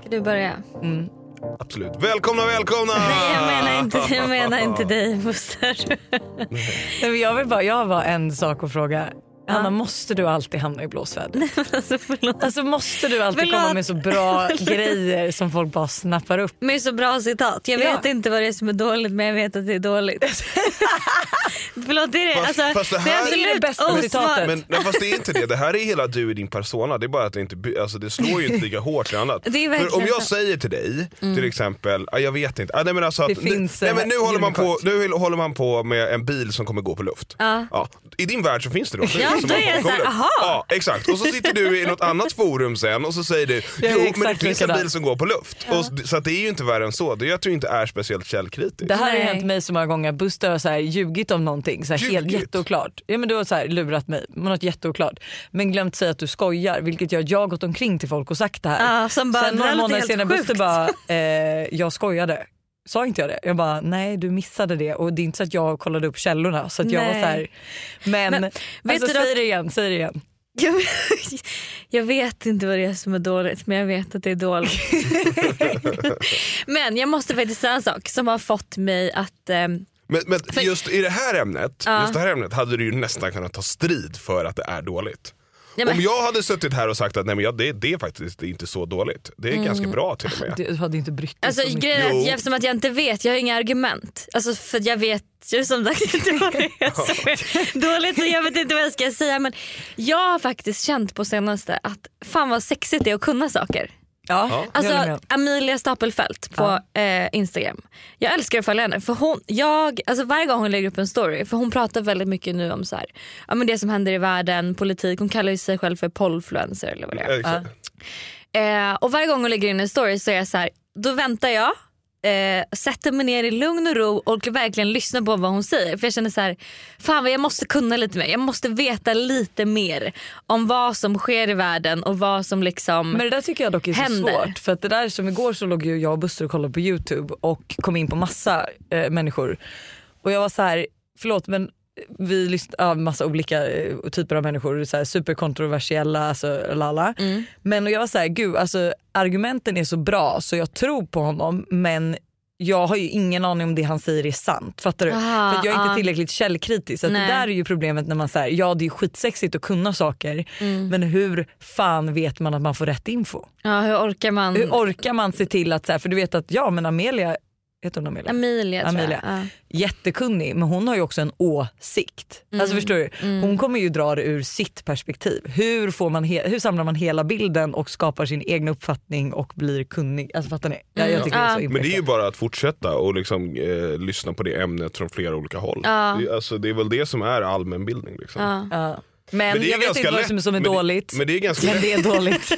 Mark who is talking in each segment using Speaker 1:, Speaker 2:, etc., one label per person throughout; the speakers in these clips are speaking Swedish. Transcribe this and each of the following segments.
Speaker 1: Ska du börja?
Speaker 2: Absolut. Välkomna, välkomna!
Speaker 1: Nej, jag menar inte, jag menar inte dig, Buster.
Speaker 3: Nej, men jag vill bara, jag har bara en sak att fråga. Hanna, måste du alltid hamna i blåsväder?
Speaker 1: alltså, förlåt.
Speaker 3: Alltså måste du alltid
Speaker 1: Förlåt.
Speaker 3: komma med så bra grejer som folk bara snappar upp?
Speaker 1: Men det är så bra citat. Jag
Speaker 3: Ja.
Speaker 1: vet inte vad det är som är dåligt men jag vet att det är dåligt. Förlåt, det är det.
Speaker 2: Fast-
Speaker 1: Alltså,
Speaker 2: fast det
Speaker 1: är
Speaker 2: här-
Speaker 1: absolut
Speaker 3: Det är det bästa
Speaker 1: osmart.
Speaker 3: citatet.
Speaker 2: Men, men fast det är inte det, det här är hela du i din persona, det är bara att det inte, by- alltså det slår ju inte lika hårt i annat.
Speaker 1: Det är verkligen
Speaker 2: För om jag
Speaker 1: så. Mm.
Speaker 2: säger till dig, till exempel, ah, jag vet inte, ah, nej men alltså att,
Speaker 3: Det finns,
Speaker 2: nej,
Speaker 3: eh,
Speaker 2: men nu, håller man på,
Speaker 3: julkort.
Speaker 2: nu håller man på med en bil som kommer gå på luft. Ja, I din värld så finns det då en bil
Speaker 1: Ja,
Speaker 2: som
Speaker 1: då är
Speaker 2: går på-
Speaker 1: jag
Speaker 2: går på
Speaker 1: så här,
Speaker 2: luft.
Speaker 1: aha.
Speaker 2: Ja, exakt, och så sitter du i något annat forum sen och så säger du,
Speaker 3: är
Speaker 2: jo men det
Speaker 3: exakt
Speaker 2: finns en
Speaker 3: likadan.
Speaker 2: bil som går på luft. Och, så- så att det är ju inte värre än så, det jag tror inte är speciellt källkritiskt.
Speaker 3: Det här har ju
Speaker 1: Nej.
Speaker 3: hänt mig så många gånger. Buster har så här ljugit om någonting så här helt
Speaker 2: Ljugit?
Speaker 3: jätteoklart. Ja, men du har så här lurat mig med något jätteoklart. Men glömt säga att du skojar vilket gör att jag har gått omkring till folk och sagt det här.
Speaker 1: Ja, som bara,
Speaker 3: Sen
Speaker 1: det här låter
Speaker 3: några månader
Speaker 1: helt
Speaker 3: senare
Speaker 1: sjukt.
Speaker 3: Buster bara, eh, jag skojade. Sa inte jag det? Jag bara, nej du missade det. Och det är inte så att jag kollade upp källorna. Så att jag var
Speaker 1: Nej.
Speaker 3: så här, men,
Speaker 1: Men, vet
Speaker 3: alltså,
Speaker 1: du då-
Speaker 3: säg det igen, säg det igen.
Speaker 1: Jag, jag vet inte vad det är som är dåligt men jag vet att det är dåligt. men jag måste faktiskt säga en sak som har fått mig att... ehm,
Speaker 2: Men, men just i det här ämnet just det här ämnet hade du ju nästan kunnat ta strid för att det är dåligt.
Speaker 1: nej, men,
Speaker 2: Om jag hade suttit här och sagt att nej, men ja, det, det är faktiskt det är inte så dåligt, det är ganska bra till och med.
Speaker 3: Mm. Du hade inte brytt dig
Speaker 1: Alltså
Speaker 3: så mycket.
Speaker 1: grejen är att
Speaker 2: Jo.
Speaker 1: jag- eftersom att jag inte vet, jag har inga argument. Alltså för att jag vet ju som sagt inte vad det är som är dåligt och jag vet inte vad jag ska säga. Men jag har faktiskt känt på senaste att fan vad sexigt det är att kunna saker.
Speaker 3: Ja, det håller jag med
Speaker 1: Alltså
Speaker 3: om.
Speaker 1: Amelia Stapelfelt på eh, Instagram. Jag älskar att följa henne för hon, jag, alltså varje gång hon lägger upp en story, för hon pratar väldigt mycket nu om så här, ja, men det som händer i världen, politik, hon kallar ju sig själv för pollfluencer eller vad det är.
Speaker 2: Eh, exakt.
Speaker 1: Eh, och varje gång hon lägger in en story så är jag så här, då väntar jag, eh, sätter mig ner i lugn och ro och verkligen lyssnar på vad hon säger. För jag känner så här, fan vad jag måste kunna lite mer. Jag måste veta lite mer om vad som sker i världen och vad som liksom...
Speaker 3: Men det där tycker jag dock är
Speaker 1: händer.
Speaker 3: så svårt. För att det där som igår så låg ju jag och Buster och kollade på Youtube och kom in på massa eh, människor. Och jag var så här, förlåt men vi lyssnade ja, massa olika eh, typer av människor, så här, superkontroversiella, alltså lala.
Speaker 1: Mm.
Speaker 3: Men och jag var så här, gud alltså argumenten är så bra så jag tror på honom men jag har ju ingen aning om det han säger är sant. Fattar du?
Speaker 1: Ah,
Speaker 3: För att jag är inte
Speaker 1: ah.
Speaker 3: tillräckligt källkritisk. Så att det
Speaker 1: Nej.
Speaker 3: där är ju problemet när man säger ja det är skitsexigt att kunna saker
Speaker 1: Mm.
Speaker 3: men hur fan vet man att man får rätt info?
Speaker 1: ja, hur orkar man?
Speaker 3: Hur orkar man se till att, så här, för du vet att ja men Amelia, heter hon Amelia?
Speaker 1: Amelia, tror
Speaker 3: Amelia.
Speaker 1: jag. Ja.
Speaker 3: Jättekunnig men hon har ju också en åsikt.
Speaker 1: Mm.
Speaker 3: Alltså förstår du? Hon kommer ju dra det ur sitt perspektiv. Hur, får man he- hur samlar man hela bilden och skapar sin egen uppfattning och blir kunnig? Alltså fattar ni? Jag,
Speaker 1: Mm.
Speaker 3: jag tycker det är så
Speaker 2: Men det är ju
Speaker 3: imponerande.
Speaker 2: bara att fortsätta och liksom, eh, lyssna på det ämnet från flera olika håll. Det, alltså, det är väl det som är allmänbildning. Liksom.
Speaker 3: Ja. Men,
Speaker 2: det är
Speaker 3: jag vet
Speaker 2: ganska
Speaker 3: inte vad som är, som är
Speaker 2: men det-
Speaker 3: dåligt.
Speaker 2: Men det, är ganska
Speaker 3: Men det
Speaker 2: lätt,
Speaker 3: är dåligt.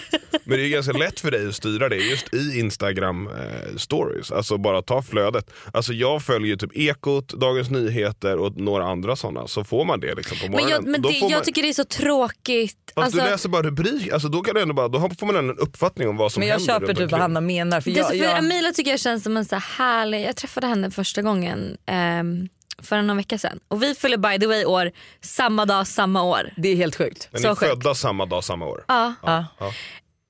Speaker 2: men det är ganska lätt för dig att styra det just i Instagram eh, stories. Alltså bara ta flödet. Alltså jag följer ju typ Ekot, Dagens Nyheter och några andra sådana. Så får man det liksom på
Speaker 1: Men,
Speaker 2: morgonen.
Speaker 1: jag, men
Speaker 2: Då
Speaker 1: det,
Speaker 2: får man-
Speaker 1: jag tycker det är så tråkigt.
Speaker 2: Fast
Speaker 1: Alltså,
Speaker 2: du läser bara rubrik, alltså då, kan du ändå bara, då får man ändå en uppfattning om vad som
Speaker 3: Men jag
Speaker 2: händer.
Speaker 3: köper
Speaker 2: runt
Speaker 3: typ vad
Speaker 2: omkring.
Speaker 3: Hanna menar. För
Speaker 1: det är så,
Speaker 3: jag,
Speaker 1: för
Speaker 3: jag,
Speaker 1: Amelia tycker jag känns som en så här härlig, jag träffade henne första gången ehm, för någon vecka sedan. Och vi fyller by the way år samma dag, samma år.
Speaker 3: det är helt sjukt.
Speaker 2: Men ni
Speaker 1: Så
Speaker 2: är
Speaker 1: sjukt.
Speaker 2: födda samma dag, samma år.
Speaker 3: Ja.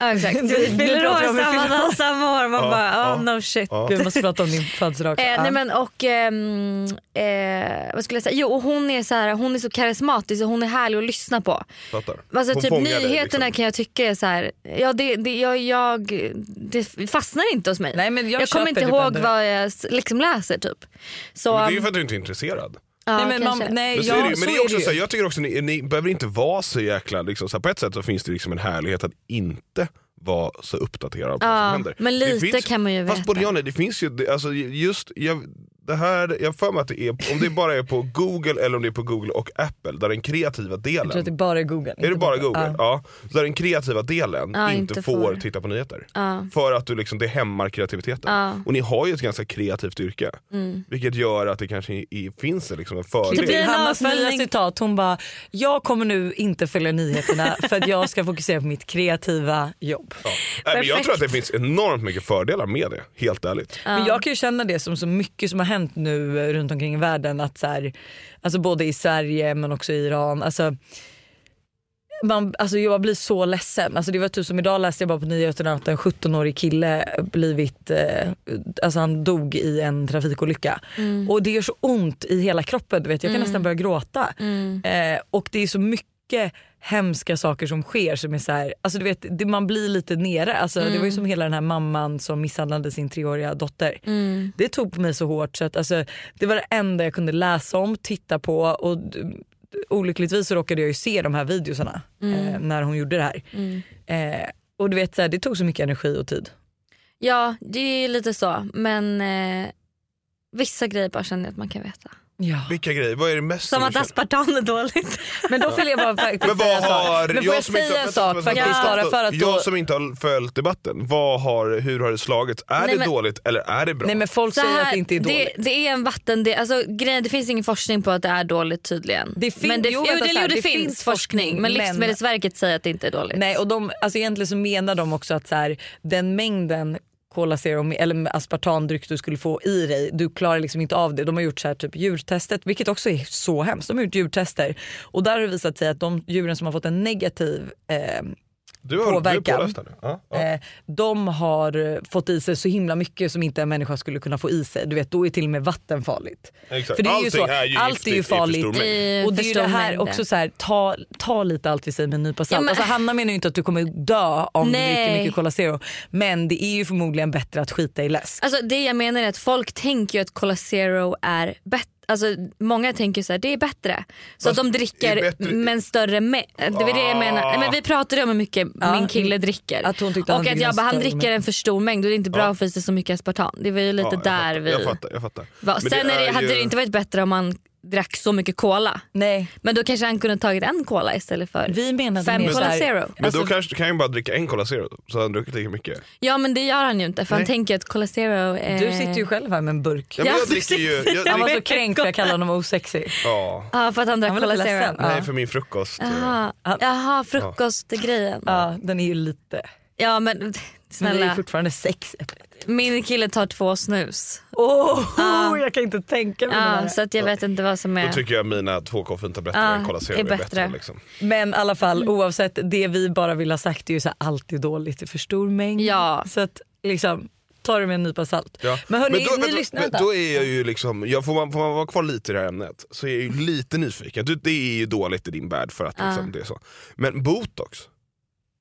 Speaker 1: Ja, exakt. Vi
Speaker 3: Nu
Speaker 1: fyller
Speaker 3: pratar vi
Speaker 1: år
Speaker 3: om vi
Speaker 1: samma
Speaker 3: fyller år.
Speaker 1: dag, samma år. Man bara, oh no shit.
Speaker 3: Du måste prata om din födelsedag också.
Speaker 1: Eh,
Speaker 3: Ja.
Speaker 1: nej men och, ehm, eh, vad skulle jag säga? Jo, och hon, är så här, hon är så karismatisk och hon är härlig att lyssna på.
Speaker 2: Fattar.
Speaker 1: Alltså,
Speaker 2: Hon
Speaker 1: typ
Speaker 2: fångar dig,
Speaker 1: nyheterna
Speaker 2: liksom.
Speaker 1: kan jag tycka är så här, ja, det, det, jag, jag, det fastnar inte hos mig.
Speaker 3: Nej, men jag
Speaker 1: kommer
Speaker 3: köper
Speaker 1: inte
Speaker 3: det
Speaker 1: ihåg
Speaker 3: ändå.
Speaker 1: vad jag s- liksom läser typ. Så,
Speaker 2: Men Det är ju för att du inte är intresserad.
Speaker 1: ja,
Speaker 3: nej, men, man,
Speaker 1: kanske.
Speaker 3: nej,
Speaker 2: Men, så
Speaker 3: ja,
Speaker 2: är det, ju. men det är också
Speaker 3: ju.
Speaker 2: så här, jag tycker också ni, ni behöver inte vara så jäkla, liksom, så här, på ett sätt så finns det liksom en härlighet att inte vara så uppdaterad på vad som händer.
Speaker 1: men
Speaker 2: Det
Speaker 1: lite kan man ju
Speaker 2: fast
Speaker 1: veta.
Speaker 2: Boriana, det finns ju, det- alltså, just, jag, det här, jag har för mig att det är, om det bara är på Google eller om det är på Google och Apple, där den kreativa
Speaker 3: Jag tror
Speaker 2: delen
Speaker 3: att det bara är Google.
Speaker 2: Är det
Speaker 3: inte
Speaker 2: bara Google?
Speaker 3: Ja.
Speaker 2: Ja. Så där den kreativa delen
Speaker 1: Ja,
Speaker 2: inte,
Speaker 1: inte
Speaker 2: får
Speaker 1: får.
Speaker 2: titta på nyheter.
Speaker 1: Ja.
Speaker 2: För att du liksom, det hämmar kreativiteten.
Speaker 1: Ja.
Speaker 2: Och ni har ju ett ganska kreativt yrke. Vilket gör att det kanske i, i, finns en liksom en
Speaker 1: Det
Speaker 2: fördel.
Speaker 1: blir en
Speaker 3: Hannas nya
Speaker 1: avföljning.
Speaker 3: citat, hon bara “jag kommer nu inte följa nyheterna för att jag ska fokusera på mitt kreativa jobb”.
Speaker 2: Nej, Äh, men jag
Speaker 1: perfekt.
Speaker 2: tror att det finns enormt mycket fördelar med det, helt ärligt.
Speaker 3: Men jag kan ju känna det som så mycket som har hänt nu eh, runt omkring i världen. Att så här, alltså både i Sverige men också i Iran. Alltså, man, alltså jag blir så ledsen. Alltså det var typ som idag läste jag bara på nyheterna att en 17-årig kille blivit, eh, alltså han dog i en trafikolycka. Och det gör så ont i hela kroppen. Du vet. Jag kan nästan börja gråta. Eh, och det är så mycket hemska saker som sker som är så här, alltså du vet, det, man blir lite nere. Alltså, Det var ju som hela den här mamman som misshandlade sin treåriga dotter. Det tog på mig så hårt så att alltså, det var det enda jag kunde läsa om, titta på och d- olyckligtvis så råkade jag ju se de här videosarna
Speaker 1: Mm.
Speaker 3: eh, när hon gjorde det här. Eh, och du vet så här, det tog så mycket energi och tid.
Speaker 1: Ja, det är ju lite så. Men eh, vissa grejer bara känner jag att man kan veta.
Speaker 2: Vilka grejer, vad är det mest
Speaker 1: Som
Speaker 2: du
Speaker 1: att
Speaker 2: känner?
Speaker 1: aspartam är dåligt.
Speaker 3: Men då vill jag bara faktiskt
Speaker 2: Men vad har,
Speaker 3: Men får jag,
Speaker 2: som inte-
Speaker 3: säga en
Speaker 2: vänta,
Speaker 3: sak
Speaker 2: vänta,
Speaker 3: faktiskt
Speaker 2: vänta,
Speaker 3: bara
Speaker 2: vänta.
Speaker 3: för att då...
Speaker 2: Jag som inte har följt debatten, vad har, hur har det slagits? Är
Speaker 1: Nej,
Speaker 2: det
Speaker 1: men-
Speaker 2: dåligt eller är det bra?
Speaker 3: Nej men folk
Speaker 1: Så
Speaker 3: säger att
Speaker 1: här,
Speaker 3: det inte är dåligt.
Speaker 1: Det, det är en vatten... Det, alltså, grejen, det finns ingen forskning på att det är dåligt tydligen.
Speaker 3: Det fin-
Speaker 1: men det,
Speaker 3: jo,
Speaker 1: jo,
Speaker 3: vänta,
Speaker 1: det,
Speaker 3: så här,
Speaker 1: jo, det,
Speaker 3: det
Speaker 1: finns,
Speaker 3: finns
Speaker 1: forskning,
Speaker 3: forskning,
Speaker 1: men
Speaker 3: men-
Speaker 1: Livsmedelsverket säger att det inte är dåligt.
Speaker 3: Nej, och de, alltså egentligen så menar de också att så här, den mängden Cola Zero eller aspartandryck du skulle få i dig, du klarar liksom inte av det. De har gjort så här, typ djurtestet, vilket också är så hemskt. De har gjort djurtester och där har det visat sig att de djuren som har fått en negativ eh,
Speaker 2: du har, Du är
Speaker 3: påverkan.
Speaker 2: påläst här nu. ja, ja.
Speaker 3: Eh, de har eh, fått i sig så himla mycket som inte en människa skulle kunna få i sig. Du vet, då är till och med vatten farligt.
Speaker 2: Exakt.
Speaker 3: För det är ju
Speaker 2: Allting
Speaker 3: så,
Speaker 2: är ju
Speaker 3: allt är ju
Speaker 2: giftigt i för
Speaker 3: farligt.
Speaker 2: stor mängd.
Speaker 1: I
Speaker 3: och det är ju
Speaker 1: för
Speaker 3: det
Speaker 1: stor
Speaker 3: här
Speaker 1: mängd.
Speaker 3: också så här, ta, ta lite allt vi säger med en nypa salt.
Speaker 1: Ja, men-
Speaker 3: alltså, Hanna menar ju inte att du kommer dö om du dricker
Speaker 1: Nej.
Speaker 3: mycket Cola Zero. Men det är ju förmodligen bättre att skita i läsk.
Speaker 1: Alltså det jag menar är att folk tänker ju att Cola Zero är bättre. Alltså, många tänker så här, det är bättre. Så
Speaker 2: Fast
Speaker 1: att de dricker
Speaker 2: det är bättre-
Speaker 1: men större mä- Det var det jag menar. Nej, men vi pratade om hur mycket min kille dricker.
Speaker 3: Ah. att hon tyckte han
Speaker 1: och att
Speaker 3: fick en
Speaker 1: jag bara, han
Speaker 3: större
Speaker 1: dricker
Speaker 3: mängd.
Speaker 1: en för stor mängd och det är inte bra att få i sig så mycket aspartam. Det var ju lite
Speaker 2: Ja, jag
Speaker 1: där
Speaker 2: fattar,
Speaker 1: vi
Speaker 2: Jag fattar, jag fattar.
Speaker 1: var.
Speaker 2: Men
Speaker 1: Sen är det,
Speaker 2: är
Speaker 1: hade
Speaker 2: ju-
Speaker 1: det inte varit bättre om man drack så mycket cola.
Speaker 3: Nej.
Speaker 1: Men då kanske han kunde tagit en cola istället för
Speaker 3: Vi menade
Speaker 1: fem
Speaker 3: mer
Speaker 1: Cola
Speaker 3: där-
Speaker 1: Zero. Alltså,
Speaker 2: Men då kanske kan jag bara dricka en Cola Zero så har han druckit lika mycket.
Speaker 1: Ja men det gör han ju inte för han tänker att Cola Zero är...
Speaker 3: Du sitter ju själv här med en burk.
Speaker 2: Ja, men
Speaker 1: Eh. Ja,
Speaker 2: jag dricker ju... Jag
Speaker 3: Han var
Speaker 2: dricker,
Speaker 3: så kränkt för jag kallade honom osexig.
Speaker 2: ja,
Speaker 1: Ja för att han drack
Speaker 3: Han var
Speaker 1: Cola
Speaker 3: lite
Speaker 1: Zero.
Speaker 3: ledsen.
Speaker 2: nej, för min frukost. eh,
Speaker 1: Jaha, Jaha frukostgrejen. Ja.
Speaker 3: Ja, den är ju lite...
Speaker 1: men
Speaker 3: Men det är
Speaker 1: snälla.
Speaker 3: fortfarande sex.
Speaker 1: Min kille tar två snus.
Speaker 3: Åh, jag kan inte tänka mig det
Speaker 1: Ja,
Speaker 3: här.
Speaker 1: så att jag vet inte vad som
Speaker 2: Då
Speaker 1: är.
Speaker 2: tycker jag mina två koffeintabletter
Speaker 1: Ja,
Speaker 2: och en Cola Zero är
Speaker 1: är
Speaker 2: bättre.
Speaker 1: bättre.
Speaker 2: liksom.
Speaker 3: Men i alla fall oavsett det vi bara vill ha sagt är ju så här, allt är dåligt i för stor mängd.
Speaker 1: Ja.
Speaker 3: Så att liksom ta det med en nypa salt.
Speaker 2: Ja.
Speaker 3: Men hörni,
Speaker 2: då,
Speaker 3: ni lyssnar
Speaker 2: men,
Speaker 3: vänta.
Speaker 2: då är jag ju liksom, jag får, man, får man vara kvar lite i det här ämnet så är jag ju lite nyfiken. Du, det är ju dåligt i din värld för att liksom, det är så. Men botox,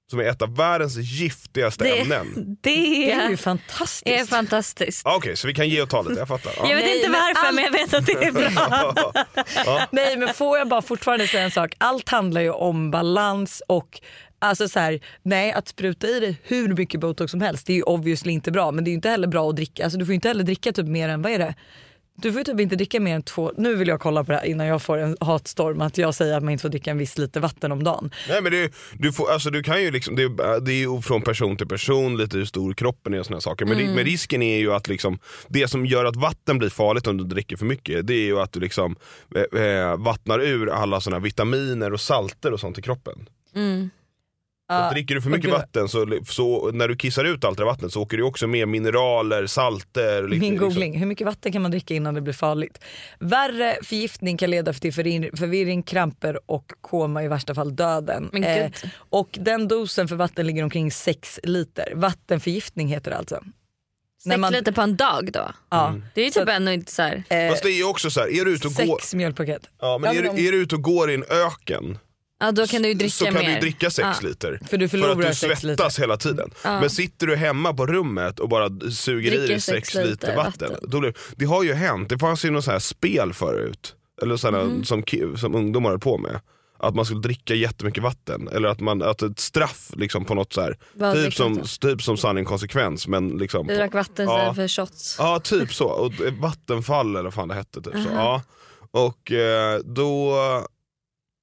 Speaker 2: som är ett av världens giftigaste
Speaker 1: Det,
Speaker 2: ämnen.
Speaker 1: det
Speaker 3: Det är ju
Speaker 1: är,
Speaker 3: fantastiskt.
Speaker 1: fantastiskt.
Speaker 2: Ah, Okej, så vi kan ge och ta lite, jag fattar. Ja.
Speaker 1: Jag vet
Speaker 3: Nej,
Speaker 1: inte
Speaker 3: men
Speaker 1: varför
Speaker 3: allt-
Speaker 1: men jag vet att det är bra.
Speaker 3: Nej men får jag bara fortfarande säga en sak. Allt handlar ju om balans och Alltså så här, nej att spruta i dig hur mycket botox som helst det är ju obviously inte bra men det är ju inte heller bra att dricka. Alltså du får ju inte heller dricka typ mer än, vad är det? Du får ju typ inte dricka mer än två, nu vill jag kolla på det här innan jag får en hatstorm att jag säger att man inte får dricka en viss liter vatten om dagen.
Speaker 2: Nej men det, du får, alltså du kan ju liksom, det, det är ju från person till person lite hur stor kroppen är och såna här saker. Men,
Speaker 3: Mm.
Speaker 2: ri- men risken är ju att liksom, det som gör att vatten blir farligt om du dricker för mycket det är ju att du liksom eh, eh, vattnar ur alla såna här vitaminer och salter och sånt i kroppen.
Speaker 1: Mm.
Speaker 2: Så
Speaker 3: Ja.
Speaker 2: dricker du för
Speaker 3: Ah, och
Speaker 2: mycket
Speaker 3: gud.
Speaker 2: vatten så, så när du kissar ut allt det där vattnet så åker det ju också med mineraler, salter. li-
Speaker 3: Min
Speaker 2: liksom.
Speaker 3: googling. Hur mycket vatten kan man dricka innan det blir farligt? Värre förgiftning kan leda till förvir- förvirring, kramper och koma i värsta fall döden. Eh,
Speaker 1: Men gud.
Speaker 3: och den dosen för vatten ligger omkring 6 liter. Vattenförgiftning heter det alltså. När
Speaker 1: Sex
Speaker 3: man-
Speaker 1: liter på en dag då.
Speaker 3: Ja.
Speaker 1: Det är ju typ ändå inte så här.
Speaker 2: Fast det är ju också Mm. så här, är du ute och går,
Speaker 3: Sex mjölkpaket.
Speaker 2: ja, men
Speaker 3: Ja,
Speaker 2: är,
Speaker 3: men
Speaker 2: du- är du ute och går i en öken
Speaker 1: Ja, då kan du ju dricka
Speaker 2: så kan
Speaker 1: mer.
Speaker 2: du dricka sex
Speaker 1: Ja.
Speaker 2: liter.
Speaker 3: För du förlorar
Speaker 2: att du
Speaker 3: sex
Speaker 2: svettas
Speaker 3: liter.
Speaker 2: hela tiden. Men sitter du hemma på rummet och bara suger i
Speaker 1: Dricker
Speaker 2: dig
Speaker 1: sex
Speaker 2: sex liter,
Speaker 1: liter
Speaker 2: vatten.
Speaker 1: vatten.
Speaker 2: Då blir, det har
Speaker 1: Mhm.
Speaker 2: ju hänt, det fanns ju något så här spel förut. Eller sådana som, ki- som ungdomar höll på med. att man skulle dricka jättemycket vatten. Eller att, man, att ett straff liksom på något så här,
Speaker 1: Vad
Speaker 2: typ,
Speaker 1: dricker
Speaker 2: som,
Speaker 1: man
Speaker 2: typ som sanning konsekvens. Men liksom,
Speaker 1: Du drack vatten
Speaker 2: Ja.
Speaker 1: istället för shots.
Speaker 2: Ja typ så, och det- Vattenfall eller vad fan det hette. Typ så. Ja. Och eh, då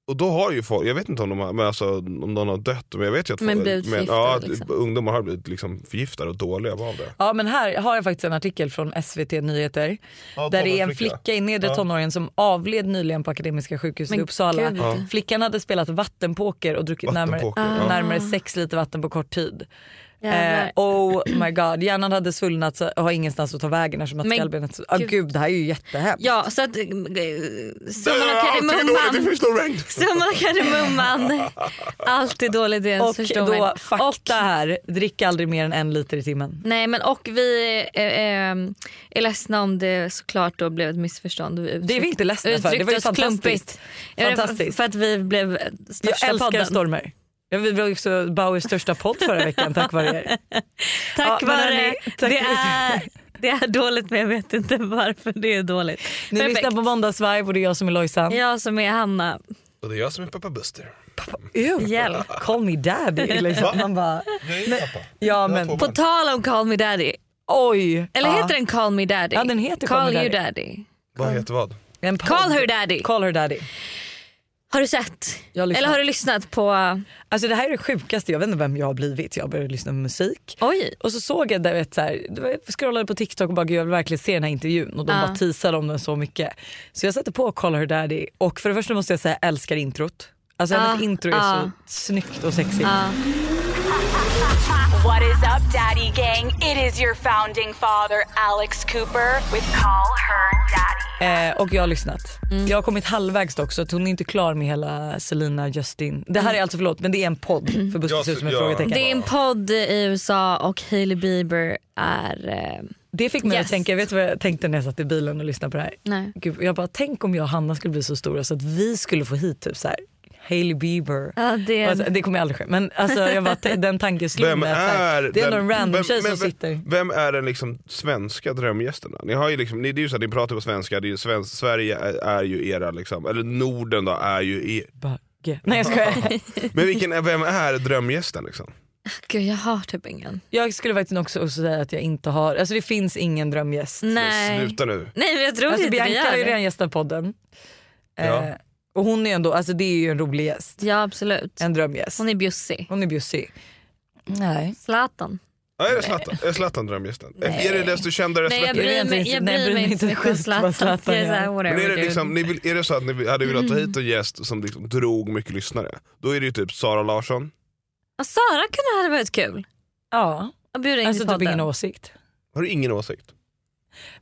Speaker 2: och då har ju folk, jag vet inte om, de har, men alltså, om någon har dött, men jag vet ju att
Speaker 1: Men
Speaker 2: folk-
Speaker 1: blivit
Speaker 2: ja,
Speaker 1: förgiftade, liksom.
Speaker 2: ungdomar har blivit liksom förgiftade och dåliga av det.
Speaker 3: Ja men här har jag faktiskt en artikel från SVT Nyheter
Speaker 2: Ja,
Speaker 3: där det är en
Speaker 2: tonårsflicka.
Speaker 3: flicka i nedre
Speaker 2: Ja.
Speaker 3: tonåren som avled nyligen på Akademiska sjukhuset i
Speaker 1: Men
Speaker 3: Uppsala.
Speaker 1: gud. Ja.
Speaker 3: Flickan hade spelat vattenpoker och druckit
Speaker 2: Vattenpoker,
Speaker 3: närmare,
Speaker 2: ja.
Speaker 3: närmare
Speaker 1: Ah.
Speaker 3: sex liter vatten på kort tid.
Speaker 1: Jävlar.
Speaker 3: Eh, oh my god, hjärnan hade svullnat så- och har ingenstans att ta vägen eftersom att
Speaker 1: Men
Speaker 3: skallbenet... Ah,
Speaker 1: gud.
Speaker 3: gud det här är ju jättehemskt.
Speaker 1: Ja, så att eh, summan av
Speaker 2: Allting är dåligt i
Speaker 1: kardemumman.
Speaker 2: första rank.
Speaker 1: Summan av kardemumman. Allt är dåligt i ens
Speaker 3: och
Speaker 1: förstår
Speaker 3: då
Speaker 1: mig.
Speaker 3: fakta här, drick aldrig mer än en liter i timmen.
Speaker 1: Nej men och vi eh, eh, är ledsna om det såklart då blev ett missförstånd. Vi
Speaker 3: Det är vi inte ledsna för, det var ju fantastiskt.
Speaker 1: Fantastiskt.
Speaker 3: Fantastiskt.
Speaker 1: Eh, För att vi blev
Speaker 3: Jag
Speaker 1: största
Speaker 3: älskar
Speaker 1: podden.
Speaker 3: stormer. Ja, vi blev också Bauers största podd förra veckan tack vare er.
Speaker 1: Tack
Speaker 3: Ja, men
Speaker 1: vare
Speaker 3: hörni, tack-
Speaker 1: det, är, det är dåligt men jag vet inte varför det är dåligt.
Speaker 3: Ni
Speaker 1: Perfekt.
Speaker 3: lyssnar på Måndagsvibe och det är jag som är Lojsan.
Speaker 1: Jag som är Hanna.
Speaker 2: Och det är jag som är pappa Buster.
Speaker 3: Ew.
Speaker 1: Hjälp.
Speaker 3: Call me daddy. Liksom. Man bara,
Speaker 2: Jag är pappa.
Speaker 3: ja men
Speaker 1: På tal om Call Me Daddy.
Speaker 3: oj.
Speaker 1: Eller
Speaker 3: ja.
Speaker 1: heter den Call Me Daddy?
Speaker 3: Ja, den heter
Speaker 1: Call,
Speaker 3: Call Me
Speaker 1: You
Speaker 3: Daddy.
Speaker 1: Daddy.
Speaker 2: Vad heter vad?
Speaker 3: en podd.
Speaker 1: Call Her Daddy.
Speaker 3: Call her daddy.
Speaker 1: Har du sett?
Speaker 3: Jag har lyssnat.
Speaker 1: Eller har du lyssnat på...
Speaker 3: Alltså det här är det sjukaste, jag vet inte vem jag har blivit. Jag började lyssna på musik.
Speaker 1: Oj.
Speaker 3: Och så såg jag, där, vet, så här, det var- jag scrollade på TikTok och bara "Gud, jag vill verkligen se den här intervjun och de
Speaker 1: Ja.
Speaker 3: bara teasade om den så mycket. Så jag satte på Call Her Daddy och för det första måste jag säga jag älskar introt. Alltså hennes
Speaker 1: Ja,
Speaker 3: intro är
Speaker 1: ja.
Speaker 3: så snyggt och sexigt.
Speaker 1: Ah.
Speaker 4: What is up, Daddy Gang? It is your founding father, Alex Cooper, with Call Her Daddy.
Speaker 3: Eh, och jag har lyssnat.
Speaker 1: Mm.
Speaker 3: Jag har kommit halvvägs dock så att hon är inte klar med hela Selina Justin. Det
Speaker 1: Mm.
Speaker 3: här är alltså förlåt men det är en podd för Buster
Speaker 2: Jag
Speaker 3: ser ut som ett
Speaker 2: ser- ja.
Speaker 3: frågetecken.
Speaker 1: Det är en podd i USA och Hailey Bieber är... Eh,
Speaker 3: Det fick mig
Speaker 1: Yes.
Speaker 3: att tänka, vet du vad jag tänkte när jag satt i bilen och lyssnade på det här?
Speaker 1: Nej.
Speaker 3: Gud, jag bara, tänk om jag och Hanna skulle bli så stora så att vi skulle få hit typ så här Hailey Bieber.
Speaker 1: Ja, det-
Speaker 3: Och Alltså, det kommer aldrig ske. Men alltså, jag bara, t- den tanken slog
Speaker 2: Vem
Speaker 3: mig. att så
Speaker 2: är
Speaker 3: här, det är ändå
Speaker 2: den-
Speaker 3: en random
Speaker 2: vem-
Speaker 3: tjej
Speaker 2: men
Speaker 3: som
Speaker 2: vem-
Speaker 3: sitter.
Speaker 2: Vem är den liksom svenska drömgästen? Ni, har ju liksom, ni, det är ju så här, ni pratar på svenska, det är ju svensk, Sverige är, är ju era, liksom, eller Norden då är ju er.
Speaker 3: Bagge. Nej jag skojar.
Speaker 2: Men vilken, är- vem är drömgästen? Liksom?
Speaker 1: gud jag har typ ingen.
Speaker 3: jag skulle faktiskt också säga att jag inte har, alltså det finns ingen drömgäst.
Speaker 1: Mm. Nej.
Speaker 2: Sluta nu.
Speaker 1: Nej men jag tror
Speaker 3: Alltså,
Speaker 1: inte vi
Speaker 3: Bianca har ju
Speaker 1: gör det.
Speaker 3: redan gästat podden.
Speaker 2: Ja.
Speaker 3: Eh, och hon är ändå, alltså det är ju en rolig gäst.
Speaker 1: Ja absolut.
Speaker 3: En drömgäst.
Speaker 1: Hon är bjussig.
Speaker 3: Hon är bjussig. Nej.
Speaker 1: Zlatan.
Speaker 2: Ja, är det Zlatan? Är Zlatan drömgästen? Är det desto kändare
Speaker 1: Nej jag
Speaker 2: Zlatan?
Speaker 1: bryr
Speaker 3: vet
Speaker 1: mig,
Speaker 3: inte,
Speaker 1: jag
Speaker 3: nej, jag
Speaker 1: bryr mig inte så mycket om
Speaker 3: skit
Speaker 1: Zlatan.
Speaker 3: vad Zlatan
Speaker 1: Jag är så här,
Speaker 3: gör.
Speaker 1: whatever,
Speaker 2: Men är det,
Speaker 1: dude.
Speaker 2: liksom, ni vill, är det så att ni vill- hade velat ta hit en gäst som liksom drog mycket lyssnare, då är det ju typ Sara Larsson.
Speaker 1: Ja, Sara kunde ha varit kul
Speaker 3: Ja,
Speaker 1: att bjuda in
Speaker 3: alltså
Speaker 1: till
Speaker 3: typ
Speaker 1: podden.
Speaker 3: ingen åsikt.
Speaker 2: Har du ingen åsikt?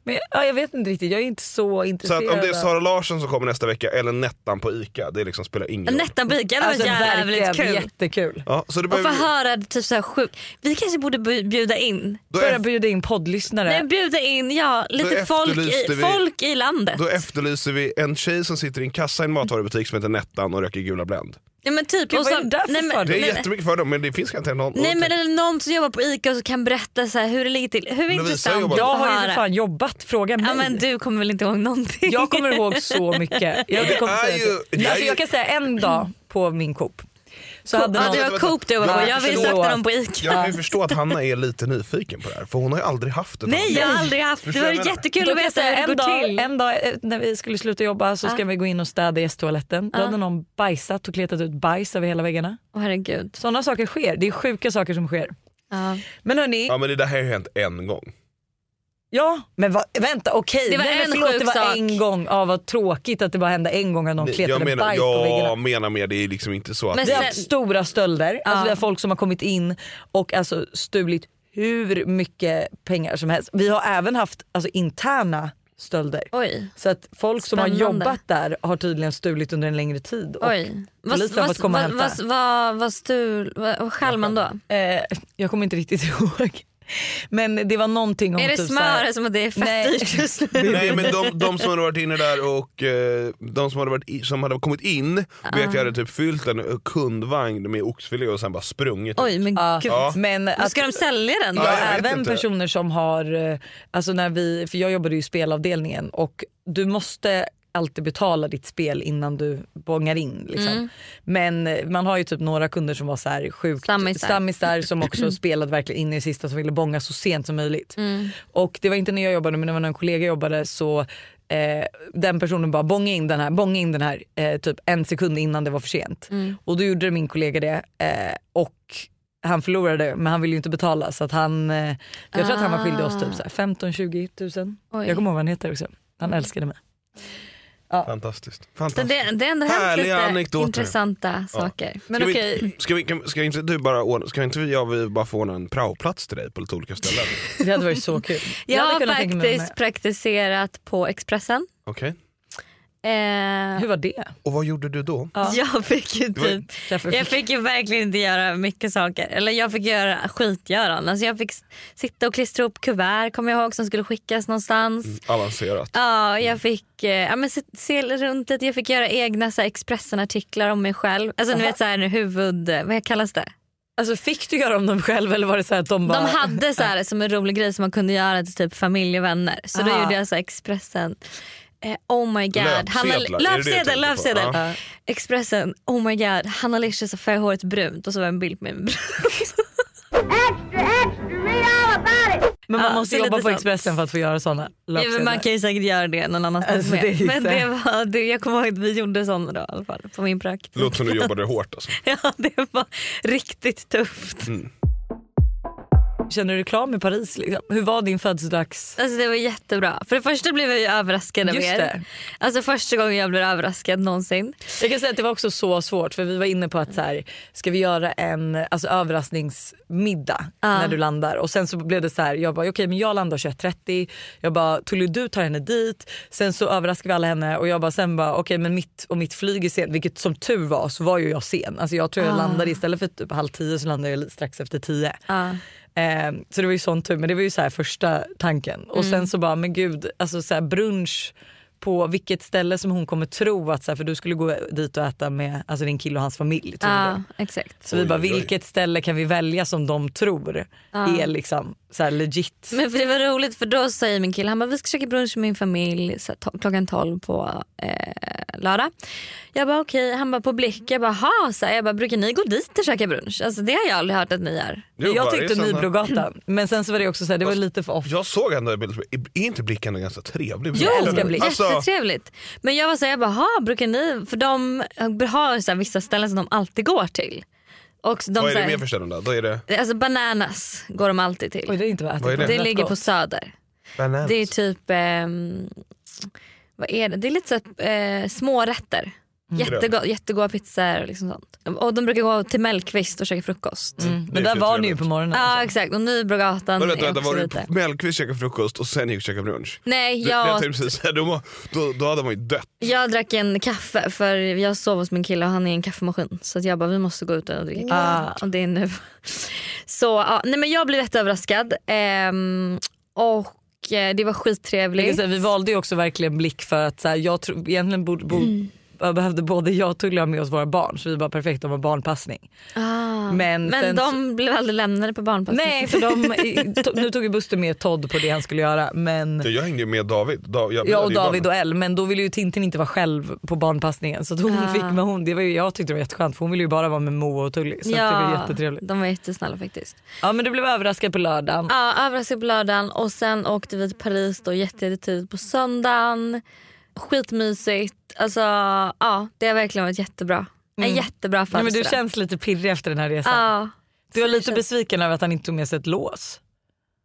Speaker 3: Men ja, jag vet inte riktigt, jag är inte så
Speaker 2: Så
Speaker 3: intresserad.
Speaker 2: att om det är
Speaker 3: av-
Speaker 2: Sara Larsson som kommer nästa vecka eller Nettan på Ica, det liksom spelar ingen roll.
Speaker 1: Nettan Bika hade
Speaker 3: alltså,
Speaker 1: varit jävligt
Speaker 3: verkligen
Speaker 1: kul.
Speaker 3: jättekul.
Speaker 2: Ja, så det
Speaker 1: Och få
Speaker 2: behöver,
Speaker 1: höra typ så här sjukt. Vi kanske borde bu- bjuda in.
Speaker 2: då
Speaker 3: Börja
Speaker 2: är
Speaker 3: bjuda in poddlyssnare.
Speaker 1: Nej, bjuda in ja, lite folk i,
Speaker 2: efterlyste vi-
Speaker 1: folk i landet.
Speaker 2: Då efterlyser vi en tjej som sitter i en kassa i en matvarubutik som heter Nettan och röker gula Blend.
Speaker 1: Ja, men typ,
Speaker 3: Gud,
Speaker 1: och
Speaker 3: vad
Speaker 1: så,
Speaker 3: är det där för
Speaker 1: nej, men,
Speaker 3: fördom?
Speaker 2: Det är
Speaker 1: nej, men-
Speaker 2: jättemycket fördomar men det finns kanske någon.
Speaker 1: nej men eller någon som jobbar på ICA och så kan berätta så här, hur det ligger till. Hur
Speaker 2: Lovisa
Speaker 1: intressant
Speaker 2: jobbar-
Speaker 3: jag
Speaker 1: att få
Speaker 3: har ju för
Speaker 1: höra.
Speaker 3: fan jobbat, fråga mig.
Speaker 1: Ja, men du kommer väl inte ihåg någonting?
Speaker 3: Jag kommer ihåg så mycket. Jag, kommer
Speaker 2: är
Speaker 3: säga
Speaker 2: ju-
Speaker 3: att-
Speaker 2: det är
Speaker 3: alltså,
Speaker 2: ju-
Speaker 3: jag kan säga en dag på min Coop. Så hade
Speaker 1: Ja,
Speaker 3: någon,
Speaker 1: det
Speaker 2: Vänta,
Speaker 1: var
Speaker 2: vänta.
Speaker 1: Coop du var på.
Speaker 2: Alltså, Jag
Speaker 1: Jag vill
Speaker 2: förstår.
Speaker 1: sakna dem på ICA.
Speaker 2: Jag kan ju förstå att Hanna är lite nyfiken på det här för hon har ju aldrig haft ett
Speaker 1: Nej jag har aldrig haft. Det
Speaker 2: Förstår
Speaker 1: var
Speaker 2: jag menar?
Speaker 1: jättekul
Speaker 3: då
Speaker 1: att
Speaker 3: kan jag
Speaker 1: veta
Speaker 3: säga
Speaker 1: hur det
Speaker 3: en
Speaker 1: går
Speaker 3: dag,
Speaker 1: till.
Speaker 3: en dag eh, när vi skulle sluta jobba så ska vi gå in och städa gästtoaletten. Då hade någon bajsat och kletat ut bajs över hela väggarna.
Speaker 1: Åh herregud.
Speaker 3: Sådana saker sker, det är sjuka saker som sker.
Speaker 1: Ja.
Speaker 3: Men hörni,
Speaker 2: Ja men det där har ju hänt en gång.
Speaker 3: Ja, men va, vänta okej.
Speaker 1: Det var
Speaker 3: Nej,
Speaker 1: en
Speaker 3: men förlåt,
Speaker 1: sjuk
Speaker 3: det var
Speaker 1: sak.
Speaker 3: en gång. Ja, vad tråkigt att det bara hände en gång att någon
Speaker 2: jag
Speaker 3: kletade
Speaker 2: menar,
Speaker 3: bajs på
Speaker 2: jag
Speaker 3: väggarna.
Speaker 2: menar mer, det är liksom inte så att...
Speaker 1: Men
Speaker 3: Vi har
Speaker 1: sen-
Speaker 3: haft stora stölder. Alltså,
Speaker 1: Ja.
Speaker 3: vi har folk som har kommit in och alltså, stulit hur mycket pengar som helst. Vi har även haft alltså, interna stölder.
Speaker 1: Oj.
Speaker 3: Så att folk som har
Speaker 1: Spännande.
Speaker 3: jobbat där har tydligen stulit under en längre tid. Och
Speaker 1: Oj. Vad
Speaker 3: Polisen har
Speaker 1: vad-
Speaker 3: fått komma och
Speaker 1: vad-
Speaker 3: hämta.
Speaker 1: vad- vad- vad stul... vad- Vad stjäl man då?
Speaker 3: Eh, jag kommer inte riktigt ihåg. Men det var någonting om
Speaker 1: Är det
Speaker 3: typ så här-
Speaker 1: smör som att det är fett
Speaker 3: Nej.
Speaker 1: dyrt just nu?
Speaker 2: Nej men de, de som hade varit inne där och eh, de som hade, varit i, som hade kommit in
Speaker 1: Ah.
Speaker 2: vet jag hade typ fyllt en eh, kundvagn med oxfilé och sen bara sprungit.
Speaker 1: Oj men
Speaker 3: Ja.
Speaker 1: gud.
Speaker 3: Men
Speaker 1: Vad
Speaker 3: att-
Speaker 1: ska de sälja den då?
Speaker 2: Ja,
Speaker 3: Ja,
Speaker 2: jag vet
Speaker 3: även
Speaker 2: inte.
Speaker 3: personer som har, eh, alltså när vi, för jag jobbade ju i spelavdelningen och du måste alltid betala ditt spel innan du bångar in. Liksom.
Speaker 2: Mm.
Speaker 3: Men eh, man har ju typ några kunder som var så här sjukt
Speaker 1: Stammisar.
Speaker 3: stammisar som också spelade verkligen in i det sista som ville bånga så sent som möjligt.
Speaker 2: Mm.
Speaker 3: Och det var inte när jag jobbade men det var när en kollega jobbade så eh, den personen bara bånga in den här, bånga in den här eh, typ en sekund innan det var för sent.
Speaker 2: Mm.
Speaker 3: Och då gjorde min kollega det eh, och han förlorade men han ville ju inte betala så att han, eh, jag tror att han var skyldig oss typ så här 15-20 tusen.
Speaker 1: Ah. Oj.
Speaker 3: Jag kommer ihåg vad han heter också, han älskade mig.
Speaker 2: Fantastiskt.
Speaker 1: Så
Speaker 2: Fantastiskt.
Speaker 1: det, det har ändå hänt
Speaker 2: Härliga
Speaker 1: lite
Speaker 2: anekdoter.
Speaker 1: intressanta saker. Men
Speaker 2: ska,
Speaker 1: okej,
Speaker 2: vi, ska, vi, kan- ska inte du bara ordna, ska inte vi- jag och vi bara få ordna en praoplats till dig på lite olika ställen?
Speaker 3: Det hade varit så kul.
Speaker 1: jag
Speaker 3: hade
Speaker 1: har
Speaker 3: kunnat tänka mig
Speaker 1: faktiskt praktiserat på Expressen.
Speaker 2: Okej.
Speaker 1: Eh,
Speaker 3: med. Hur var det?
Speaker 2: Och vad gjorde du då?
Speaker 1: Jag fick ju
Speaker 2: var-
Speaker 1: typ,
Speaker 3: Därför
Speaker 1: jag fick ju verkligen inte göra mycket saker. Eller jag fick göra skitgöran. Alltså jag fick s- sitta och klistra ihop kuvert kommer jag ihåg som skulle skickas någonstans.
Speaker 2: Avancerat.
Speaker 1: Ja, jag fick eh, ja, men se, se runt lite. Jag fick göra egna så här, Expressen-artiklar om mig själv. Alltså ni vet så här huvud, eh, vad kallas det?
Speaker 3: Alltså fick du göra om dem själv eller var det så här att de bara...
Speaker 1: De hade så här, som en rolig grej som man kunde göra till typ familj och vänner. Så då
Speaker 3: Aha.
Speaker 1: gjorde jag så här, Expressen. Eh, oh my god. Hanna-
Speaker 2: Löpsedlar, är det det du
Speaker 1: löpsedel,
Speaker 2: tänker på?
Speaker 1: löpsedel.
Speaker 2: Ja.
Speaker 1: Expressen, oh my god. Hanna Licious har färgat håret brunt och så var det en bild med en brun.
Speaker 5: Extra, extra, read all about it.
Speaker 3: men man
Speaker 1: Ja,
Speaker 3: måste
Speaker 1: det är
Speaker 3: jobba
Speaker 1: lite
Speaker 3: på
Speaker 1: sånt.
Speaker 3: Expressen för att få göra sådana
Speaker 1: Ja, men man kan ju säkert göra det någon annanstans
Speaker 3: Alltså,
Speaker 1: med.
Speaker 3: det är ju
Speaker 1: men
Speaker 3: så här-
Speaker 1: det var, det, jag kommer ihåg att vi gjorde sådana då i alla fall på min prakt.
Speaker 2: Låter som du jobbade hårt alltså.
Speaker 1: Ja, det var riktigt tufft.
Speaker 3: Känner du dig klar med Paris? Liksom? Hur var din födelsedags...
Speaker 1: Alltså det var jättebra. För det första blev jag ju överraskad av
Speaker 3: Just
Speaker 1: er.
Speaker 3: det.
Speaker 1: Alltså första gången jag blev överraskad någonsin.
Speaker 3: Jag kan säga att det var också så svårt för vi var inne på att så här, ska vi göra en alltså, överraskningsmiddag när du landar och sen så blev det så här, jag bara okej men jag landar 21.30, jag bara Tully du tar henne dit, sen så överraskar vi alla henne och jag bara sen bara okej men mitt och mitt flyg är sen, vilket som tur var så var ju jag sen. Alltså jag tror jag landade istället för typ halv tio så landade jag strax efter tio. Eh, så det var ju sån tur men det var ju så här första tanken och sen så bara men gud alltså så här brunch på vilket ställe som hon kommer tro att, så här, för du skulle gå dit och äta med alltså din kille och hans familj. tror
Speaker 1: Ja,
Speaker 3: du.
Speaker 1: exakt.
Speaker 3: Så vi bara,
Speaker 2: Oj, oj, oj.
Speaker 3: vilket ställe kan vi välja som de tror är liksom så här legit?
Speaker 1: Men för det var roligt för då säger min kille, han bara vi ska käka brunch med min familj så här, to- klockan 12 på eh, lördag. Jag bara okej, han bara på blick, jag bara ha, så här, jag bara brukar ni gå dit och käka brunch? Alltså det har jag aldrig hört att ni gör.
Speaker 2: Jo,
Speaker 3: jag
Speaker 2: bara,
Speaker 3: tyckte
Speaker 2: det är samma-
Speaker 3: Nybrogatan, men sen så var det också så här, det var lite för off.
Speaker 2: Jag såg ändå en bild, som- är inte Blickan en ganska trevlig bild?
Speaker 1: Jo,
Speaker 3: älskar blick.
Speaker 2: Alltså,
Speaker 1: jättetrevligt. Men jag var så här, jag bara, "Ha, brukar ni, för de har så här, vissa ställen som de alltid går till. Och de,
Speaker 2: vad är
Speaker 1: så
Speaker 2: det
Speaker 1: här-
Speaker 2: mer för ställen då? Då är det
Speaker 1: Alltså bananas går de alltid till.
Speaker 3: Oj, det är inte vad jag ätit
Speaker 2: Vad är
Speaker 3: på.
Speaker 2: det?
Speaker 1: det
Speaker 3: Rätt
Speaker 1: ligger på
Speaker 3: gott.
Speaker 1: söder.
Speaker 2: bananas.
Speaker 1: Det är typ, ehm, vad är det? Det är lite så att, eh, smårätter.
Speaker 2: Mm.
Speaker 1: Jättegå, jättegoda pizzor och liksom sånt. Och de brukar gå till Mellqvist och käka frukost. Ja
Speaker 2: Mm, Det är
Speaker 3: Men där
Speaker 2: för
Speaker 3: var ni ju
Speaker 2: trevligt.
Speaker 3: på morgonen. alltså.
Speaker 1: exakt och Nybrogatan
Speaker 2: Men vänta,
Speaker 1: är
Speaker 2: vänta,
Speaker 1: också
Speaker 2: var du
Speaker 1: lite.
Speaker 2: på Mellqvist käkade frukost och sen gick och käkade brunch?
Speaker 1: Nej
Speaker 2: Du, jag
Speaker 1: jag,
Speaker 2: tänkte precis säga, då, må- då, då hade man ju dött.
Speaker 1: jag drack en kaffe för jag sov hos min kille och han är en kaffemaskin. Så att jag bara vi måste gå ut och dricka kaffe. Och det är nu. Så ja, nej men jag blev jätteöverraskad. Ehm, och eh, det var
Speaker 3: Jag kan
Speaker 1: skittrevligt.
Speaker 3: säga, vi valde ju också verkligen blick för att så här, jag tror egentligen borde, bo,
Speaker 1: Mm.
Speaker 3: behövde både jag och Tully ha med oss våra barn så vi bara perfekt om barnpassning. Men,
Speaker 1: Ah, Men
Speaker 3: sen så-
Speaker 1: de blev aldrig lämnade på barnpassning.
Speaker 3: Nej för de, i- to, nu tog ju Buster med Todd på det han skulle göra men
Speaker 2: Jag hängde ju med David. Da, jag,
Speaker 3: Jag
Speaker 2: jag
Speaker 3: och
Speaker 2: hade ju barn.
Speaker 3: David och Elle, men då ville ju Tintin inte vara själv på barnpassningen så att hon fick
Speaker 1: Ah.
Speaker 3: med hon, det var ju, jag tyckte det var jätteskönt för hon ville ju bara vara med Moa och Tully så att det var jättetrevligt.
Speaker 1: De var jättesnälla faktiskt.
Speaker 3: Ja men du blev överraskad på lördagen.
Speaker 1: Ja, överraskad på lördagen och sen åkte vi till Paris då jättetidigt på söndagen. Skitmysigt. Alltså ja, det har verkligen varit jättebra. En jättebra
Speaker 3: Mm. Ja, men du
Speaker 1: födelsedag.
Speaker 3: känns lite pirrig efter den här resan.
Speaker 1: Ja.
Speaker 3: du var lite besviken över att han inte tog med sig ett lås.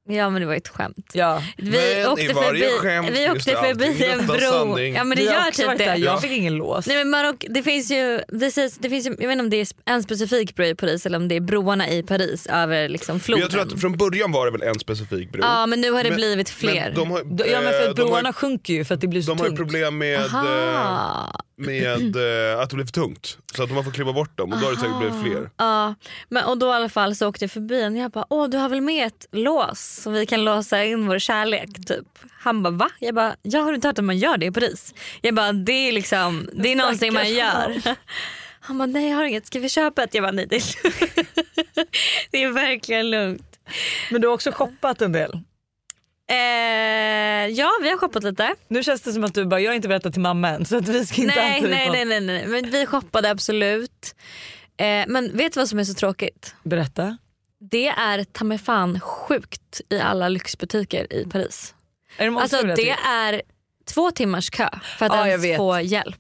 Speaker 1: Ja men det var ju ett skämt.
Speaker 3: Ja.
Speaker 1: Vi
Speaker 2: Men i
Speaker 1: åkte
Speaker 2: varje
Speaker 1: förbi,
Speaker 2: skämt
Speaker 1: vi
Speaker 2: finns
Speaker 1: åkte
Speaker 2: det alltid
Speaker 1: förbi en
Speaker 2: utan
Speaker 1: bro.
Speaker 2: sanning.
Speaker 1: Ja men det
Speaker 3: Vi har
Speaker 1: gör
Speaker 3: också
Speaker 1: typ
Speaker 3: varit där.
Speaker 1: det.
Speaker 3: Jag
Speaker 2: Ja.
Speaker 3: fick ingen lås.
Speaker 1: Nej, men man åker, det finns ju, det sägs, det finns ju, jag vet inte om det är en specifik bro i Paris eller om det är broarna i Paris över liksom
Speaker 2: Men
Speaker 1: floden.
Speaker 2: jag tror att från början var det väl en specifik bro.
Speaker 1: Ja men nu har det blivit fler.
Speaker 2: Mm. Men de har,
Speaker 3: ja men
Speaker 2: eh,
Speaker 3: för
Speaker 2: de har,
Speaker 3: broarna sjunker ju för att det blir så
Speaker 2: de har ju
Speaker 3: tungt.
Speaker 2: problem med, eh,
Speaker 1: Aha.
Speaker 2: med eh, att det blir för tungt. Så att de har fått klippa bort dem och då har det säkert blivit fler.
Speaker 1: Ja, men, och då i alla fall så åkte jag förbi en och jag bara åh du har väl med ett lås som vi kan låsa in vår kärlek typ. Han bara va? Jag bara jag har inte hört att man gör det i Paris. Jag bara det är liksom det är någonting man gör. Han bara nej jag har inget, ska vi köpa ett? Jag bara nej det är lugnt. det är verkligen lugnt.
Speaker 3: Men du har också shoppat en del.
Speaker 1: Eh, ja, vi har shoppat lite.
Speaker 3: Nu känns det som att du bara, jag har inte berättat till mamma än så att vi ska inte
Speaker 1: Nej,
Speaker 3: äta
Speaker 1: nej,
Speaker 3: det.
Speaker 1: nej, nej, nej. Men vi shoppade absolut. Eh, men vet du vad som är så tråkigt?
Speaker 3: Berätta.
Speaker 1: Det är ta mig fan sjukt i alla lyxbutiker i Paris.
Speaker 3: Är det många
Speaker 1: Alltså
Speaker 3: som berättar
Speaker 1: det är två timmars kö för att
Speaker 3: Ja, jag
Speaker 1: ens
Speaker 3: vet.
Speaker 1: få hjälp.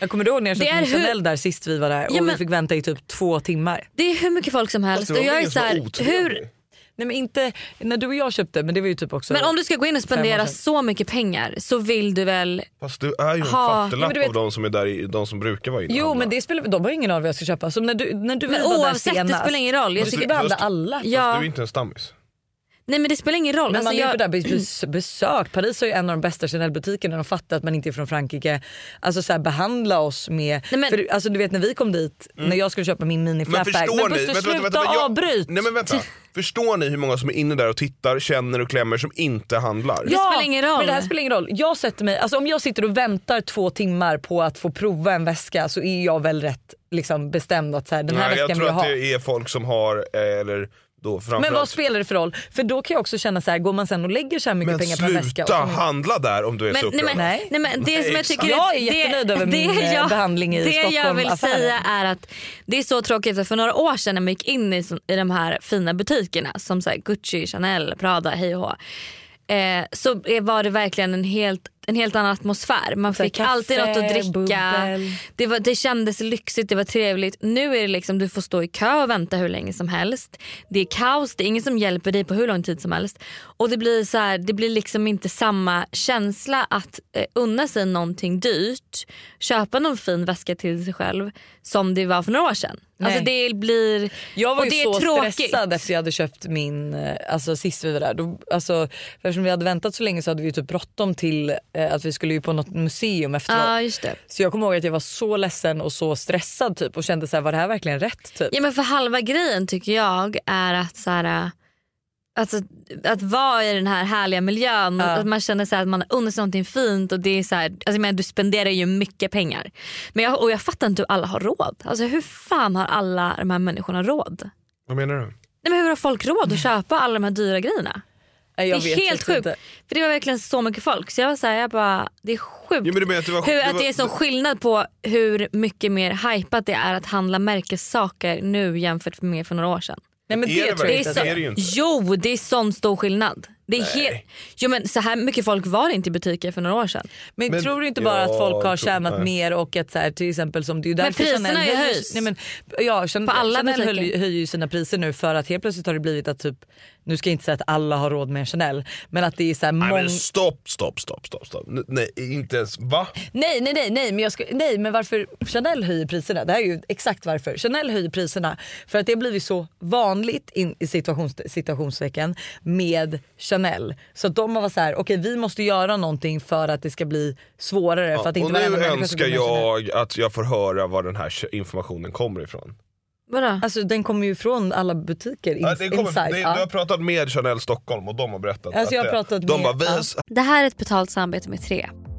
Speaker 3: Jag kommer du ihåg när jag
Speaker 1: Det
Speaker 3: köpte
Speaker 1: är
Speaker 3: min
Speaker 1: hur-
Speaker 3: Chanel där sist vi var där och
Speaker 1: Ja, men-
Speaker 3: vi fick vänta i typ två timmar.
Speaker 1: Det är hur mycket folk som helst.
Speaker 2: Fast det var
Speaker 1: Och jag
Speaker 2: väl
Speaker 1: är
Speaker 2: ingen
Speaker 1: så
Speaker 2: som var
Speaker 1: här,
Speaker 2: otrevlig?
Speaker 1: hur,
Speaker 3: Nej men inte när du och jag köpte men det var ju typ också.
Speaker 1: men om du ska gå in och
Speaker 3: Fem år
Speaker 1: spendera
Speaker 3: sedan.
Speaker 1: så mycket pengar så vill du väl...
Speaker 2: Fast du är ju en
Speaker 1: Ha,
Speaker 2: fattiglapp
Speaker 3: men du vet-
Speaker 2: av de som är där, i- de som brukar vara inne och
Speaker 3: Jo
Speaker 2: handla.
Speaker 3: men det spelar, de har ju ingen aning vad jag ska köpa. Som när du, när du
Speaker 1: Men
Speaker 3: var
Speaker 1: oavsett,
Speaker 3: där
Speaker 1: det
Speaker 3: senast.
Speaker 1: spelar ingen roll. Jag
Speaker 3: Du
Speaker 2: Fast
Speaker 3: ska
Speaker 2: du-
Speaker 1: tycker,
Speaker 3: behandla
Speaker 2: fast-
Speaker 3: alla. Men
Speaker 2: Fast
Speaker 1: ja,
Speaker 2: du är inte en stammis.
Speaker 1: nej men det spelar ingen roll.
Speaker 3: man
Speaker 1: Alltså,
Speaker 3: är ju
Speaker 1: jag,
Speaker 3: på det här bes- besök. Paris har ju en av de bästa Chanel-butikerna. De fattar att man inte är från Frankrike. Alltså så här, behandla oss med...
Speaker 1: Nej, men-
Speaker 3: för, alltså, du vet när vi kom dit, när jag skulle köpa min
Speaker 2: Men
Speaker 3: miniflapback.
Speaker 2: förstår
Speaker 3: men
Speaker 2: ni?
Speaker 3: Buster,
Speaker 2: vänta,
Speaker 3: sluta
Speaker 2: vänta, vänta, vänta, jag-
Speaker 3: avbryt!
Speaker 2: Nej, men vänta. Förstår ni hur många som är inne där och tittar, känner och klämmer som inte handlar?
Speaker 1: Ja. spelar ingen roll.
Speaker 3: Men det här spelar ingen roll. Jag sätter mig, alltså om jag sitter och väntar två timmar på att få prova en väska så är jag väl rätt liksom, bestämd att så här, den här
Speaker 2: Nej, jag
Speaker 3: väskan vill
Speaker 2: tror
Speaker 3: jag
Speaker 2: att
Speaker 3: ha.
Speaker 2: det är folk som har, eh, eller då
Speaker 3: Men vad
Speaker 2: framförallt
Speaker 3: spelar det för roll? För då kan jag också känna så här, går man sen och lägger så här mycket
Speaker 2: men
Speaker 3: pengar på en väska.
Speaker 2: sluta
Speaker 3: och sen-
Speaker 2: handla där om du är
Speaker 1: Men,
Speaker 2: så
Speaker 1: nej,
Speaker 2: upprörd.
Speaker 1: men,
Speaker 3: Nej.
Speaker 1: nej. men det
Speaker 2: Nej,
Speaker 1: som jag
Speaker 2: exakt.
Speaker 1: tycker
Speaker 3: Jag är jättenöjd över min, eh, behandling i
Speaker 1: Det jag vill
Speaker 3: Stockholmaffären.
Speaker 1: säga är att det är så tråkigt för, för några år sedan när man gick in i, sån- i de här fina butikerna som så här Gucci, Chanel, Prada, hej och hå, eh, så är- var det verkligen en helt en helt annan atmosfär. Man
Speaker 3: Så här,
Speaker 1: fick alltid något att
Speaker 3: kaffe,
Speaker 1: dricka.
Speaker 3: bubbel.
Speaker 1: Det, var, det kändes lyxigt, det var trevligt. Nu är det liksom du får stå i kö och vänta hur länge som helst. Det är kaos, det är ingen som hjälper dig på hur lång tid som helst. Och det blir, så här, det blir liksom inte samma känsla att eh, unna sig någonting dyrt, köpa någon fin väska till sig själv som det var för några år sedan. Alltså
Speaker 3: Nej.
Speaker 1: det blir,
Speaker 3: Jag var
Speaker 1: och
Speaker 3: ju
Speaker 1: det är
Speaker 3: så
Speaker 1: tråkigt.
Speaker 3: stressad efter jag hade köpt min, eh, alltså sist vi var där. Då, alltså, för eftersom vi hade väntat så länge så hade vi ju typ bråttom till eh, att vi skulle ju på något museum efteråt.
Speaker 1: Ja just det.
Speaker 3: Så jag kommer ihåg att jag var så ledsen och så stressad typ och kände så här, var det här verkligen rätt? Typ?
Speaker 1: Ja men för halva grejen tycker jag är att så här, äh, alltså, att vara i den här härliga miljön.
Speaker 3: Ja.
Speaker 1: Att man känner så här, att man har unnat sig någonting fint. Och det är så här, alltså, jag menar, du spenderar ju mycket pengar. Men jag, och jag fattar inte hur alla har råd. Alltså, hur fan har alla de här människorna råd?
Speaker 2: Vad menar du?
Speaker 1: Nej, men hur har folk råd att köpa alla de här dyra grejerna?
Speaker 3: Nej, Eh, jag
Speaker 1: det är
Speaker 3: vet
Speaker 1: helt
Speaker 3: faktiskt
Speaker 1: sjukt.
Speaker 3: inte.
Speaker 1: För det var verkligen så mycket folk. Så jag var så här, jag bara, det är sjukt.
Speaker 2: Ja, men du menar att det var-
Speaker 1: hur,
Speaker 2: det
Speaker 1: att
Speaker 2: var-
Speaker 1: det är sån skillnad på hur mycket mer hypat det är att handla märkessaker nu jämfört med för några år sedan.
Speaker 3: Nej, men
Speaker 2: Är
Speaker 3: det,
Speaker 2: det
Speaker 3: tror jag
Speaker 2: verkligen
Speaker 3: inte.
Speaker 2: så?
Speaker 3: att det är.
Speaker 2: det ju inte.
Speaker 1: Jo, det är sån stor skillnad. Det är helt... Jo men så här mycket folk var det inte i butiker för några år sedan.
Speaker 3: Men,
Speaker 2: Men-
Speaker 3: tror du inte bara att folk
Speaker 2: Ja,
Speaker 3: har
Speaker 2: jag tror-
Speaker 3: tjänat
Speaker 2: nej.
Speaker 3: mer och att så här, till exempel som det är ju därför
Speaker 1: priserna har ju
Speaker 3: höll-
Speaker 1: höjts.
Speaker 3: Nej, men, ja, Chanel,
Speaker 1: På alla
Speaker 3: Chanel
Speaker 1: butiker.
Speaker 3: höll- höjer ju sina priser nu för att helt plötsligt har det blivit att typ, nu ska jag inte säga att alla har råd med en Chanel men att det är så här mång...
Speaker 2: Nej men stopp, stopp, stopp, stopp, stopp. N- Nej inte ens, va?
Speaker 3: Nej, nej, nej, nej, men jag ska, nej, men varför Chanel höjer priserna? Det här är ju exakt varför. Chanel höjer priserna för att det har blivit så vanligt in, i situations, situationstecken med Chanel. Så att de har varit så här, okej vi måste göra någonting för att det ska bli svårare. för att inte
Speaker 2: och
Speaker 3: varenda
Speaker 2: nu
Speaker 3: människa
Speaker 2: önskar
Speaker 3: ska kunna Chanel.
Speaker 2: jag att jag får höra var den här informationen kommer ifrån.
Speaker 1: Vadå?
Speaker 3: Alltså den kommer ju från alla butiker in,
Speaker 2: Ja, det kommer,
Speaker 3: inside.
Speaker 2: det,
Speaker 3: ja.
Speaker 2: Du har pratat med Chanel Stockholm och de har berättat
Speaker 3: Alltså, jag har
Speaker 2: det-
Speaker 3: pratat
Speaker 2: de
Speaker 3: med-
Speaker 2: bara, vi,
Speaker 3: ja.
Speaker 1: Det här är ett betalt samarbete med tre.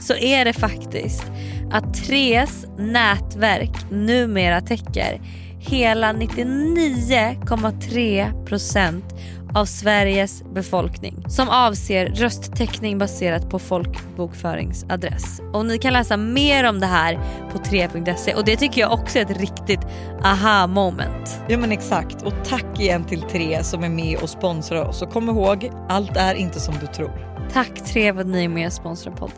Speaker 1: Så är det faktiskt att Tres nätverk numera täcker hela 99,3% av Sveriges befolkning som avser rösttäckning baserat på folkbokföringsadress. Och ni kan läsa mer om det här på 3.se och det tycker jag också är ett riktigt aha moment.
Speaker 3: Ja men exakt och tack igen till Tre som är med och sponsrar oss och kom ihåg allt är inte som du tror.
Speaker 1: Tack Tre för att ni är med och sponsrar podden.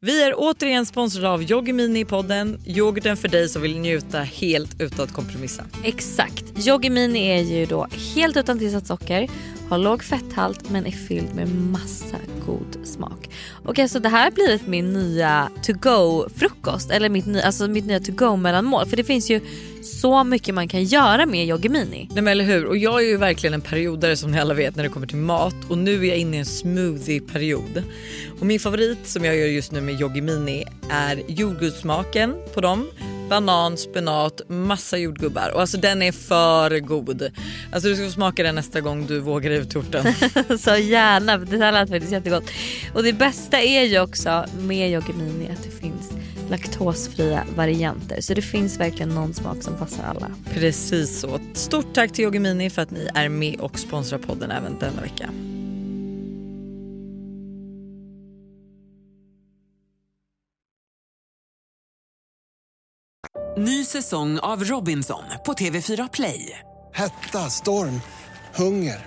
Speaker 3: Vi är återigen sponsrade av Yoggi Mini i podden. Yoghurten för dig som vill njuta helt utan att kompromissa.
Speaker 1: Exakt. Yoggi Mini är ju då helt utan tillsatt socker har låg fetthalt men är fylld med massa god smak. Och alltså det här har blivit min nya to-go-frukost, eller mitt, ny- alltså mitt nya to-go-mellanmål. För det finns ju så mycket man kan göra med Yoggi Mini.
Speaker 3: Nej men eller hur, och jag är ju verkligen en periodare som ni alla vet när det kommer till mat och nu är jag inne i en smoothie-period. Och min favorit som jag gör just nu med Yoggi Mini är jordgubbssmaken på dem. Banan, spenat, massa jordgubbar och alltså den är för god. Alltså du ska få smaka den nästa gång du vågar ut hjorten.
Speaker 1: Så gärna, för det här lät faktiskt jättegott. Och det bästa är ju också med Yogimini att det finns laktosfria varianter. Så det finns verkligen någon smak som passar alla.
Speaker 3: Precis så. Stort tack till Yoggi Mini för att ni är med och sponsrar podden även denna vecka.
Speaker 6: Ny säsong av Robinson på TV4 Play.
Speaker 7: Hetta, storm, hunger.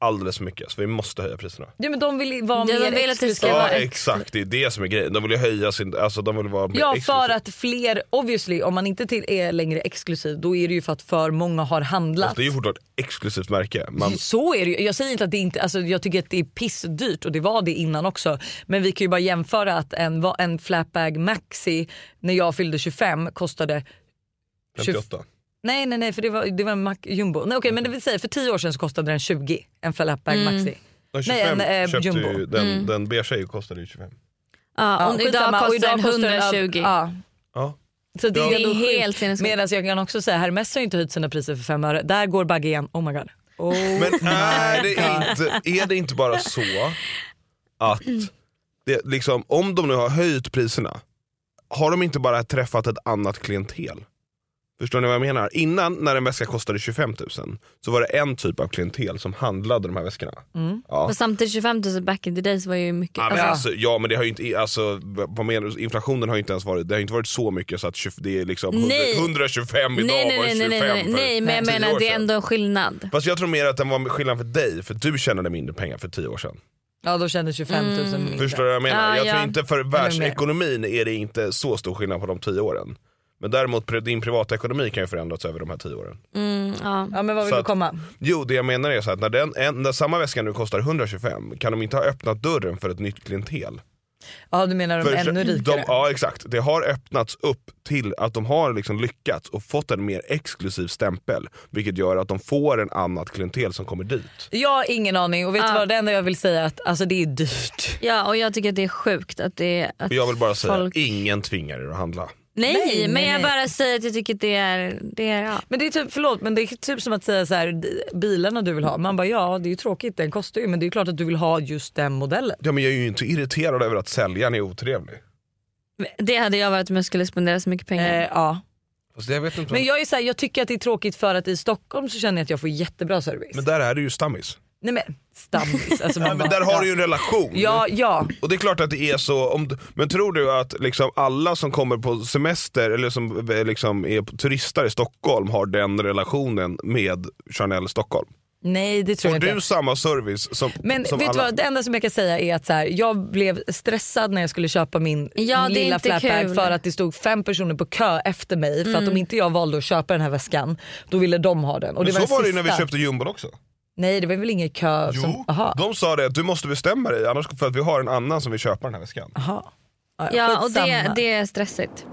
Speaker 2: alldeles för mycket så vi måste höja priserna.
Speaker 3: Ja men de vill vara
Speaker 1: Ja, de
Speaker 3: mer
Speaker 1: vill att det ska
Speaker 3: exklusiva.
Speaker 2: Ja
Speaker 1: vara
Speaker 2: exakt, det är det som är grejen. De vill ju höja sin, alltså de vill vara mer
Speaker 3: Ja
Speaker 2: exklusiva.
Speaker 3: för att fler, obviously om man inte till är längre exklusiv då är det ju för att för många har
Speaker 2: Fast
Speaker 3: handlat.
Speaker 2: Alltså, Det är ju fortfarande ett exklusivt märke. Man,
Speaker 3: Så är det ju. Jag säger inte att det inte, alltså jag tycker att det är pissdyrt och det var det innan också. Men vi kan ju bara jämföra att en, va- en flatbag maxi när jag fyllde 25 kostade
Speaker 2: 58.
Speaker 3: Nej nej nej för det var, det var en Mac, jumbo. Nej okej men det vill säga för 10 år sedan så kostade den 20 en flatbag
Speaker 1: Mm.
Speaker 3: maxi.
Speaker 2: Nej,
Speaker 3: Nej,
Speaker 2: 25
Speaker 3: en, eh,
Speaker 2: köpte
Speaker 3: jumbo.
Speaker 2: ju, den, den beiga är ju- kostade ju 25.
Speaker 1: Ja, och idag
Speaker 3: skitsamma. Och
Speaker 1: kostar den
Speaker 3: kostar
Speaker 1: 120.
Speaker 3: ja.
Speaker 2: Ja.
Speaker 3: Så det,
Speaker 1: Det
Speaker 3: är
Speaker 1: är
Speaker 3: ändå sjukt.
Speaker 1: helt sinnessjukt.
Speaker 3: Medan jag kan också säga Hermes har ju inte höjt sina priser för fem öre. Där går Bagge igen. Oh my god. Oh.
Speaker 2: Men är det, inte, är det inte bara så att det, liksom, om de nu har höjt priserna, har de inte bara träffat ett annat klientel? Förstår ni vad jag menar? Innan när en väska kostade 25 000 så var det en typ av klientel som handlade de här väskorna.
Speaker 3: Mm.
Speaker 2: Ja.
Speaker 1: Och samtidigt 25 000 back in the days var ju mycket.
Speaker 2: Ja men,
Speaker 1: alltså,
Speaker 2: alltså, ja, men det har ju inte, alltså, vad menar du? inflationen har ju inte ens varit, det har ju inte varit så mycket så att 20, det är liksom 100,
Speaker 1: Nej.
Speaker 2: 125 idag
Speaker 1: nej, nej,
Speaker 2: var
Speaker 1: nej,
Speaker 2: 25
Speaker 1: nej, nej, nej,
Speaker 2: för
Speaker 1: nej, men jag
Speaker 2: 10
Speaker 1: menar
Speaker 2: år
Speaker 1: det är
Speaker 2: sedan.
Speaker 1: ändå skillnad.
Speaker 2: Fast jag tror mer att den var skillnad för dig, för du tjänade mindre pengar för 10 år sedan.
Speaker 3: Ja då kändes 25 000
Speaker 1: Mm.
Speaker 3: mindre.
Speaker 2: Förstår du vad jag menar?
Speaker 1: Ja,
Speaker 2: jag
Speaker 1: ja.
Speaker 2: tror inte för
Speaker 3: mer.
Speaker 2: världsekonomin är det inte så stor skillnad på de 10 åren. Men däremot pri- din privatekonomi kan ju förändras över de här 10 åren.
Speaker 1: Mm,
Speaker 3: Ja men vad vill
Speaker 2: Så
Speaker 3: du
Speaker 2: att-
Speaker 3: komma?
Speaker 2: Jo det jag menar är så att när, den, en, när samma väska nu kostar 125 kan de inte ha öppnat dörren för ett nytt klientel.
Speaker 3: Ja du menar de
Speaker 2: För
Speaker 3: ännu rikare?
Speaker 2: De, ja exakt, det har öppnats upp till att de har liksom lyckats och fått en mer exklusiv stämpel vilket gör att de får en annat klientel som kommer dit.
Speaker 3: Jag har ingen aning och vet du
Speaker 1: Ja.
Speaker 3: vad det enda jag vill säga är att alltså, det är dyrt.
Speaker 1: Ja och jag tycker att det är sjukt att det att
Speaker 2: Och jag vill bara säga,
Speaker 1: folk...
Speaker 2: ingen tvingar er att handla.
Speaker 1: Nej,
Speaker 3: Nej, nej,
Speaker 1: men jag
Speaker 3: nej.
Speaker 1: bara säger att jag tycker att det är, det är ja.
Speaker 3: Men det är typ, förlåt men det är typ som att säga så här, d- bilarna du vill ha. Man bara ja det är ju tråkigt den kostar ju men det är ju klart att du vill ha just den modellen.
Speaker 2: Ja, men jag är ju inte irriterad över att säljaren är otrevlig.
Speaker 1: Det hade jag varit om jag skulle spendera så mycket pengar.
Speaker 3: Eh, ja.
Speaker 2: Fast jag vet inte
Speaker 3: Men jag är så här, jag tycker att det är tråkigt för att i Stockholm så känner jag att jag får jättebra service.
Speaker 2: men där är du ju stammis.
Speaker 3: Nej men stammis. Alltså, man
Speaker 2: Ja, men
Speaker 3: bara-
Speaker 2: där har du
Speaker 3: ja.
Speaker 2: ju en relation.
Speaker 3: Ja, ja.
Speaker 2: Och det är klart att det är så. Om, du- men tror du att liksom alla som kommer på semester eller som eh, liksom är turister i Stockholm har den relationen med Chanel Stockholm?
Speaker 3: Nej det tror
Speaker 2: Får
Speaker 3: jag
Speaker 2: du
Speaker 3: inte.
Speaker 2: samma service som,
Speaker 3: Men
Speaker 2: som
Speaker 3: vet du
Speaker 2: alla?
Speaker 3: vad, det enda som jag kan säga är att så här, jag blev stressad när jag skulle köpa min
Speaker 1: Ja, det är
Speaker 3: lilla
Speaker 1: inte kul. Mm.
Speaker 3: flatbag för att det stod fem personer på kö efter mig för att om inte jag valde att köpa den här väskan då ville de ha den. Och
Speaker 2: Men
Speaker 3: det var
Speaker 2: så var det ju
Speaker 3: den
Speaker 2: när vi
Speaker 3: sista.
Speaker 2: köpte jumbon också.
Speaker 3: Nej det var väl ingen kö som...
Speaker 2: Jo,
Speaker 3: Aha.
Speaker 2: de sa det att du måste bestämma dig annars för att vi har en annan som vill köpa den här väskan.
Speaker 3: aha.
Speaker 1: ja och det,
Speaker 3: skitsamma.
Speaker 1: det är stressigt.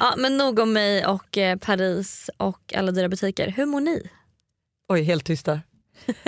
Speaker 1: Ja, men nog om mig och eh, Paris och alla dyra butiker. Hur mår ni?
Speaker 3: Oj helt tysta.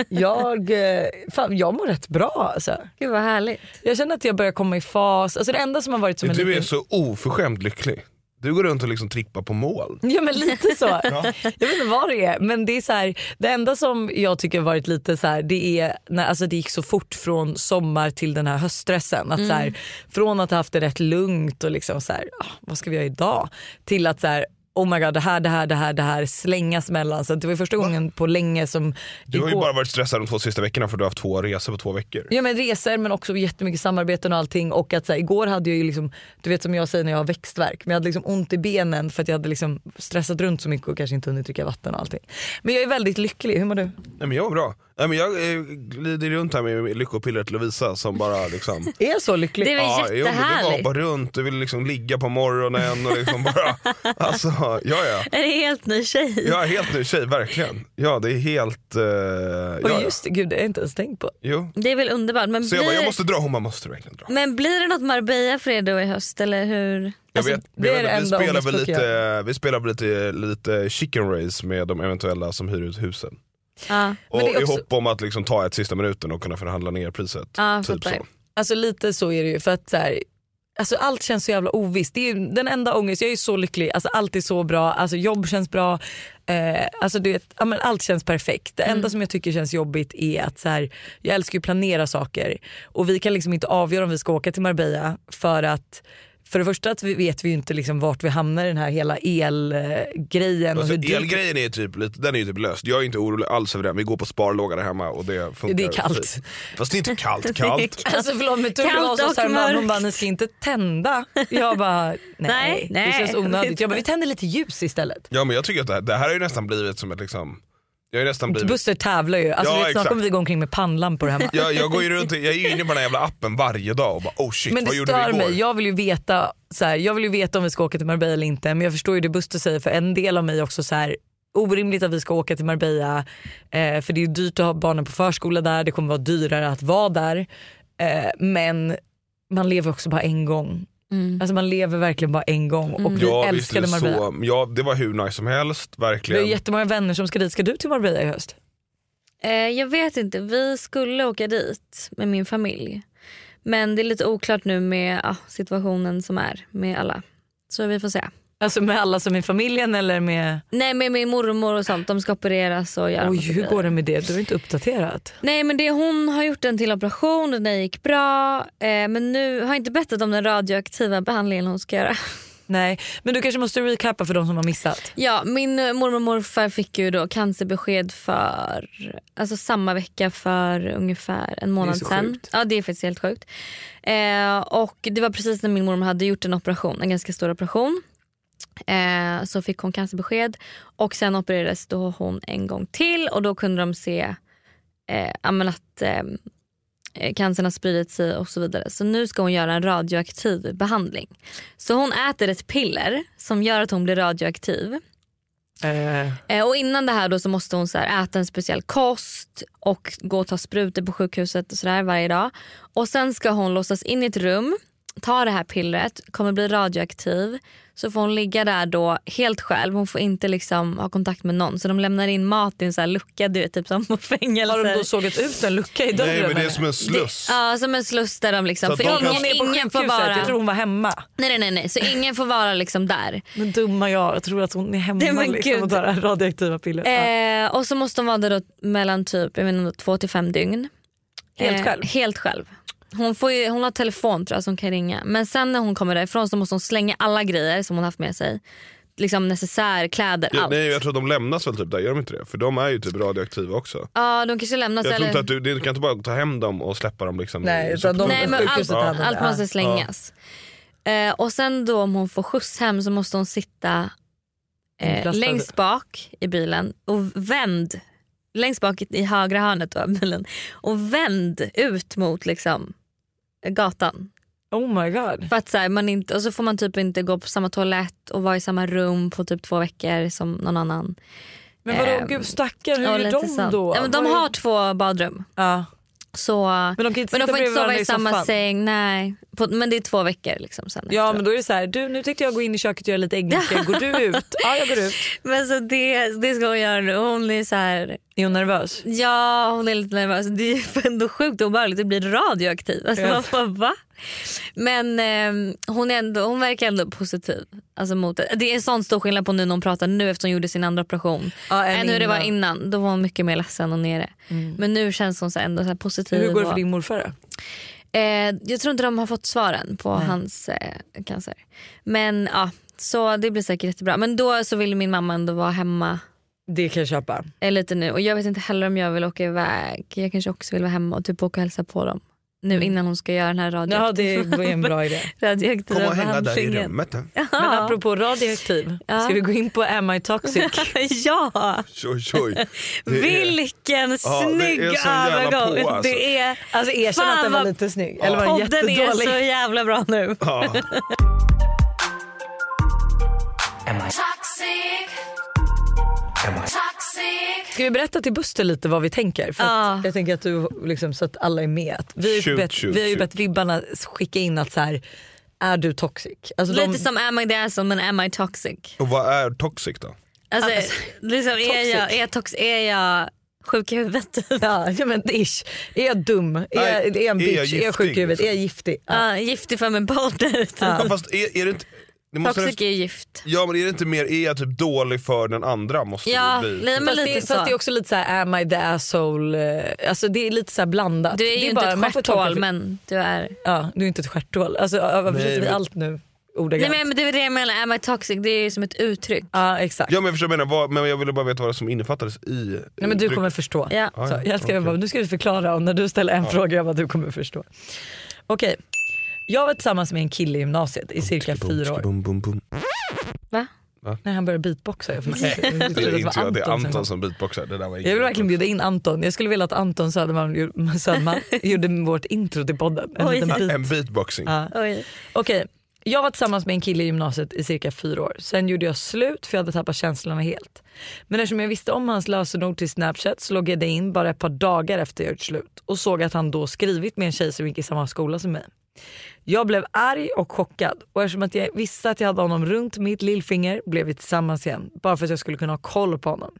Speaker 3: jag, eh, fan, jag mår rätt bra alltså.
Speaker 1: Gud vad härligt.
Speaker 3: Jag känner att jag börjar komma i fas. Alltså, det enda som har varit som en
Speaker 2: du är
Speaker 3: liten...
Speaker 2: så oförskämt lycklig. Du går runt och liksom trippar på mål.
Speaker 3: Ja men lite så. Jag vet inte vad det är men det är så här, det enda som jag tycker varit lite så här, det är när alltså det gick så fort från sommar till den här höststressen. Att så här,
Speaker 8: Mm.
Speaker 3: från att ha haft det rätt lugnt och liksom så här, "Ah, vad ska vi göra idag? Till att så här, oh my god det här, det här, det här, det här slängas mellan. Så att det var första gången på länge som
Speaker 2: Du har ju
Speaker 3: igår-
Speaker 2: bara varit stressad de två sista veckorna för du har haft två resor på två veckor.
Speaker 3: Ja men resor men också jättemycket samarbeten och allting och att så här, igår hade jag ju liksom, du vet som jag säger när jag har växtverk, men jag hade liksom ont i benen för att jag hade liksom stressat runt så mycket och kanske inte hunnit dricka vatten och allting. Men jag är väldigt lycklig, hur mår du?
Speaker 2: Nej men jag är bra. Nej, men jag eh, glider runt här med lyckopillret Lovisa som bara liksom
Speaker 3: Är jag så lycklig?
Speaker 2: jo, men Du bara hoppar runt, du vill liksom ligga på morgonen och liksom bara... Alltså, ja, ja.
Speaker 1: Är det helt ny tjej?
Speaker 2: Jag är helt ny tjej, verkligen. Ja, det är helt... eh, ja,
Speaker 3: Och
Speaker 2: ja.
Speaker 3: just det, gud det har jag inte ens tänkt på.
Speaker 2: Jo.
Speaker 1: Det är väl underbart. Men
Speaker 2: Så jag bara,
Speaker 1: blir-
Speaker 2: jag måste dra. Hon bara, måste du verkligen dra?
Speaker 1: Men blir det något Marbella för er då i höst eller hur?
Speaker 2: Jag
Speaker 1: Alltså,
Speaker 2: vet, jag vet, inte, vi, spelar väl lite, vi spelar väl lite, lite chicken race med de eventuella som hyr ut husen.
Speaker 1: Ja.
Speaker 2: Och i hopp om att liksom ta ett sista minuten och kunna förhandla ner priset.
Speaker 3: Ja,
Speaker 2: typ så.
Speaker 3: Alltså lite så är det ju för att så här, alltså allt känns så jävla ovisst. Det är ju den enda ångest, jag är ju så lycklig, alltså allt är så bra, alltså jobb känns bra, eh, alltså du vet, ja, men allt känns perfekt. Det enda
Speaker 2: Mm.
Speaker 3: som jag tycker känns jobbigt är att så här, jag älskar ju planera saker och vi kan liksom inte avgöra om vi ska åka till Marbella för att för det första att vi vet vi ju inte liksom vart vi hamnar i den här hela elgrejen. och
Speaker 2: Alltså,
Speaker 3: hur dyrt-
Speaker 2: elgrejen är typ, lite- den är ju typ löst. Jag är inte orolig alls över den. Vi går på sparlåga där hemma och det funkar.
Speaker 3: Det är kallt.
Speaker 2: fint. Fast det är inte
Speaker 3: Det är
Speaker 2: kallt kallt.
Speaker 3: Alltså förlåt men Tove
Speaker 1: Kallt
Speaker 3: var så
Speaker 1: och
Speaker 3: såhär, hon
Speaker 1: mörkt.
Speaker 3: bara ni ska inte tända. Jag bara nej,
Speaker 1: Nej,
Speaker 3: det
Speaker 1: nej.
Speaker 3: känns onödigt. Jag bara vi tänder lite ljus istället.
Speaker 2: Ja men jag tycker att det här, det här har ju nästan blivit som ett liksom, jag har ju nästan blivit
Speaker 3: Buster tävlar ju, alltså
Speaker 2: Ja,
Speaker 3: du vet, snart
Speaker 2: exakt.
Speaker 3: kommer vi gå omkring med pannlampor hemma.
Speaker 2: jag, jag går ju runt, jag är ju inne på den här jävla appen varje dag och bara oh shit
Speaker 3: men det
Speaker 2: vad gjorde vi
Speaker 3: stör
Speaker 2: igår?
Speaker 3: mig, jag vill ju veta så här, jag vill ju veta om vi ska åka till Marbella eller inte men jag förstår ju det Buster säger för en del av mig också så här orimligt att vi ska åka till Marbella eh, för det är ju dyrt att ha barnen på förskola där, det kommer vara dyrare att vara där eh, men man lever också bara en gång. Alltså man lever verkligen bara en gång och vi
Speaker 2: ja, visst är
Speaker 3: älskade
Speaker 2: det
Speaker 3: Marbella.
Speaker 2: så, ja det var hur nice som helst
Speaker 3: Vi har
Speaker 2: verkligen.
Speaker 3: jättemånga vänner som ska dit, ska du till Marbella i höst?
Speaker 1: Eh, jag vet inte, vi skulle åka dit med min familj. Men det är lite oklart nu med ja, situationen som är med alla. Så vi får se.
Speaker 3: Alltså med alla som är i familjen eller med...
Speaker 1: Nej men min mormor och sånt, de ska opereras och göra
Speaker 3: Oj
Speaker 1: massa
Speaker 3: hur
Speaker 1: grejer.
Speaker 3: går det med det? Du är inte uppdaterat.
Speaker 1: Nej men det, hon har gjort en till operation och den gick bra. Eh, men nu har jag inte berättat om den radioaktiva behandlingen hon ska göra.
Speaker 3: Nej, men du kanske måste recappa för de som har missat.
Speaker 1: Ja, min eh, mormor och morfar fick ju då cancerbesked för alltså samma vecka för ungefär en månad
Speaker 3: så
Speaker 1: sedan.
Speaker 3: sjukt.
Speaker 1: Ja, det är faktiskt helt sjukt. Eh, och det var precis när min mormor hade gjort en operation, en ganska stor operation. Eh, så fick hon cancerbesked och sen opererades då hon en gång till och då kunde de se eh, ja, men att eh, eh, cancern har spridit sig och så vidare. Så nu ska hon göra en radioaktiv behandling. Så hon äter ett piller som gör att hon blir radioaktiv.
Speaker 3: Eh,
Speaker 1: Eh, och innan det här då så måste hon så här äta en speciell kost och gå och ta sprutor på sjukhuset och sådär varje dag. Och sen ska hon låsas in i ett rum, ta det här pillret, kommer bli radioaktiv. Så får hon ligga där då helt själv, hon får inte liksom ha kontakt med någon. Så de lämnar in mat i en så här lucka, du vet, typ som på fängelser.
Speaker 3: Har de då sågat ut en lucka i dörren?
Speaker 2: Nej men det är som en sluss.
Speaker 1: Ja, som en sluss där de liksom...
Speaker 2: Så att de kan-
Speaker 3: Hon är på
Speaker 1: ingen får
Speaker 3: sjukhuset,
Speaker 1: vara...
Speaker 3: jag tror hon var hemma.
Speaker 1: Nej, nej, nej, nej. Så ingen får vara liksom där.
Speaker 3: Men dumma jag, jag tror att hon är hemma
Speaker 1: Nej, men
Speaker 3: liksom,
Speaker 1: gud.
Speaker 3: och tar det här radioaktiva pillret. Ja.
Speaker 1: Eh, och så måste hon vara där då mellan typ jag menar, två till fem dygn. Eh,
Speaker 3: Helt själv?
Speaker 1: Helt själv. Hon, får ju, hon har telefon tror jag som kan ringa. Men sen när hon kommer därifrån så måste hon slänga alla grejer som hon haft med sig. Liksom necessär, kläder,
Speaker 2: Ja,
Speaker 1: allt.
Speaker 2: nej jag tror att de lämnas väl typ där, gör de inte det? För de är ju typ radioaktiva också.
Speaker 1: Ja, de kanske lämnas
Speaker 2: Jag tror inte
Speaker 1: Alltså, eller...
Speaker 2: att du, du kan inte bara ta hem dem och släppa dem liksom.
Speaker 3: Nej,
Speaker 2: i
Speaker 3: utan
Speaker 2: soptunnan.
Speaker 1: Nej, men allt, allt
Speaker 2: Ja.
Speaker 1: måste slängas. Eh, och sen då om hon får skjuts hem så måste hon sitta eh,
Speaker 3: Inplastad.
Speaker 1: längst bak i bilen och vänd längst bak i, i högra hörnet av bilen och vänd ut mot liksom gatan.
Speaker 3: Oh my god.
Speaker 1: För att så här, man inte, och så får man typ inte gå på samma toalett och vara i samma rum på typ två veckor som någon annan.
Speaker 3: Men vadå,
Speaker 1: Ehm,
Speaker 3: gud stackar, hur
Speaker 1: ja,
Speaker 3: gör
Speaker 1: lite
Speaker 3: de
Speaker 1: sant.
Speaker 3: då?
Speaker 1: Ja, men de
Speaker 3: Vad är-
Speaker 1: har två badrum.
Speaker 3: Ja.
Speaker 1: Så, men
Speaker 3: de kan inte sitta
Speaker 1: får inte
Speaker 3: bredvid
Speaker 1: sova
Speaker 3: varandra
Speaker 1: i
Speaker 3: i
Speaker 1: samma
Speaker 3: soffan.
Speaker 1: säng. Nej. På, men det är två veckor liksom sen
Speaker 3: Ja men då är det så här, du nu tänkte jag gå in i köket och göra lite äggmacka, går du ut? Ja jag går ut.
Speaker 1: Men så det, det ska hon göra nu. Hon är så här...
Speaker 3: Är hon nervös?
Speaker 1: Ja, hon är lite nervös. Det är ju ändå sjukt obehagligt. Det blir radioaktivt. Alltså,
Speaker 3: Ja.
Speaker 1: man bara, va? Men eh, hon, är ändå, hon verkar ändå positiv. Alltså mot det. det är en sån stor skillnad på nu när hon pratar nu efter hon gjorde sin andra operation.
Speaker 3: Ja, än
Speaker 1: än hur det var
Speaker 3: innan.
Speaker 1: innan. Då var hon mycket mer ledsen och nere. Men nu känns hon så här ändå så här positiv.
Speaker 3: Hur går det
Speaker 1: och-
Speaker 3: för din morfar då?
Speaker 1: Eh, jag tror inte de har fått svaren på hans eh, cancer. Men ja, så det blir säkert jättebra. Men då så vill min mamma ändå vara hemma
Speaker 3: Det kan jag köpa.
Speaker 1: eh, lite nu. Och jag vet inte heller om jag vill åka iväg. Jag kanske också vill vara hemma och typ åka och hälsa på dem. Nu innan hon ska göra den här radioaktiva
Speaker 3: Ja det var en bra idé.
Speaker 1: radioaktiva
Speaker 2: Kom och hänga där i
Speaker 1: behandlingen.
Speaker 2: rummet. då.
Speaker 3: Men apropå radioaktiv,
Speaker 1: Ja.
Speaker 3: ska vi gå in på Am I toxic?
Speaker 1: ja,
Speaker 2: Tjoj, tjoj. Det är-
Speaker 1: vilken
Speaker 2: Ja, det är
Speaker 1: snygg
Speaker 2: sån jävla
Speaker 1: övergång.
Speaker 2: på, alltså.
Speaker 1: Det är,
Speaker 3: Alltså erkänn
Speaker 1: Fan,
Speaker 3: att den var
Speaker 1: vad-
Speaker 3: lite snygg. Eller var den
Speaker 1: podden är
Speaker 3: jättedålig?
Speaker 1: så jävla bra nu.
Speaker 2: Ja.
Speaker 3: Ska vi berätta till Buster lite vad vi tänker? För att
Speaker 1: Ja.
Speaker 3: Jag tänker att du, liksom, så att alla är med. Att Vi har ju
Speaker 2: Shoot,
Speaker 3: bett,
Speaker 2: shoot,
Speaker 3: vi har ju
Speaker 2: shoot.
Speaker 3: bett vibbarna skicka in att så här, är du toxic? Alltså, de-
Speaker 1: Lite som Am I the asshole men Am I toxic?
Speaker 2: Och vad är toxic då?
Speaker 1: Alltså, liksom, är,
Speaker 3: toxic.
Speaker 1: jag, är, jag tox, är jag sjuk i huvudet?
Speaker 3: Ja, ja, men ish. Är jag dum? Är,
Speaker 2: Nej,
Speaker 3: jag, är jag en
Speaker 2: är
Speaker 3: bitch?
Speaker 2: jag
Speaker 3: är jag sjuk
Speaker 2: giftig,
Speaker 3: i huvudet?
Speaker 2: liksom?
Speaker 3: Är jag giftig? Ja.
Speaker 1: Ja, giftig för min partner.
Speaker 2: Ja, fast är, är det inte... Det måste
Speaker 1: Toxic är ju gift.
Speaker 2: Ja men är det inte mer, är jag typ dålig för den andra? Måste
Speaker 1: Ja,
Speaker 2: det bli.
Speaker 1: nej, men
Speaker 3: Fast,
Speaker 1: lite
Speaker 3: det,
Speaker 1: så.
Speaker 3: fast det är också lite så här, am I the asshole? Eh, Alltså det är lite så här blandat.
Speaker 1: du är
Speaker 3: det
Speaker 1: ju inte
Speaker 3: bara-
Speaker 1: ett
Speaker 3: man får tolka
Speaker 1: stjärthål
Speaker 3: för-
Speaker 1: men du är...
Speaker 3: Ja, du är inte ett stjärthål. Alltså, varför
Speaker 2: Nej,
Speaker 3: sätter vi
Speaker 2: men-
Speaker 3: allt nu
Speaker 1: Nej,
Speaker 3: ordagrant?
Speaker 1: men, men det är det jag menar, Am I toxic? Det är ju som ett uttryck.
Speaker 3: Ja, exakt.
Speaker 2: Ja men jag förstår vad du menar, vad, men jag ville bara veta vad som innefattades i...
Speaker 3: Nej, men du kommer förstå.
Speaker 1: Ja.
Speaker 2: Ja,
Speaker 3: Så
Speaker 2: ja,
Speaker 3: jag skrev
Speaker 2: okej.
Speaker 3: bara, nu ska du förklara och när du ställer en fråga jag bara, du kommer förstå. Okej, jag var tillsammans med en kille i gymnasiet i cirka fyra år.
Speaker 2: Bum, bum, bum.
Speaker 1: Va?
Speaker 3: När han började beatboxa. Jag, fick se. Jag trodde
Speaker 2: Det är inte jag, det är
Speaker 3: som-
Speaker 2: Anton som beatboxar. Det där var
Speaker 3: jag
Speaker 2: ingen
Speaker 3: vill verkligen bjuda in Anton. Jag skulle vilja att Anton Söderman, gjorde- Söderman gjorde vårt intro till podden. En
Speaker 1: Oj.
Speaker 3: liten beat.
Speaker 2: En beatboxing.
Speaker 3: Ja.
Speaker 1: Oj.
Speaker 3: Okej, jag var tillsammans med en kille i gymnasiet i cirka fyra år. Sen gjorde jag slut för jag hade tappat känslorna helt. Men eftersom jag visste om hans lösenord till Snapchat så loggade jag in bara ett par dagar efter jag gjort slut och såg att han då skrivit med en tjej som gick i samma skola som mig. Jag blev arg och chockad och eftersom att jag visste att jag hade honom runt mitt lillfinger blev vi tillsammans igen bara för att jag skulle kunna ha koll på honom.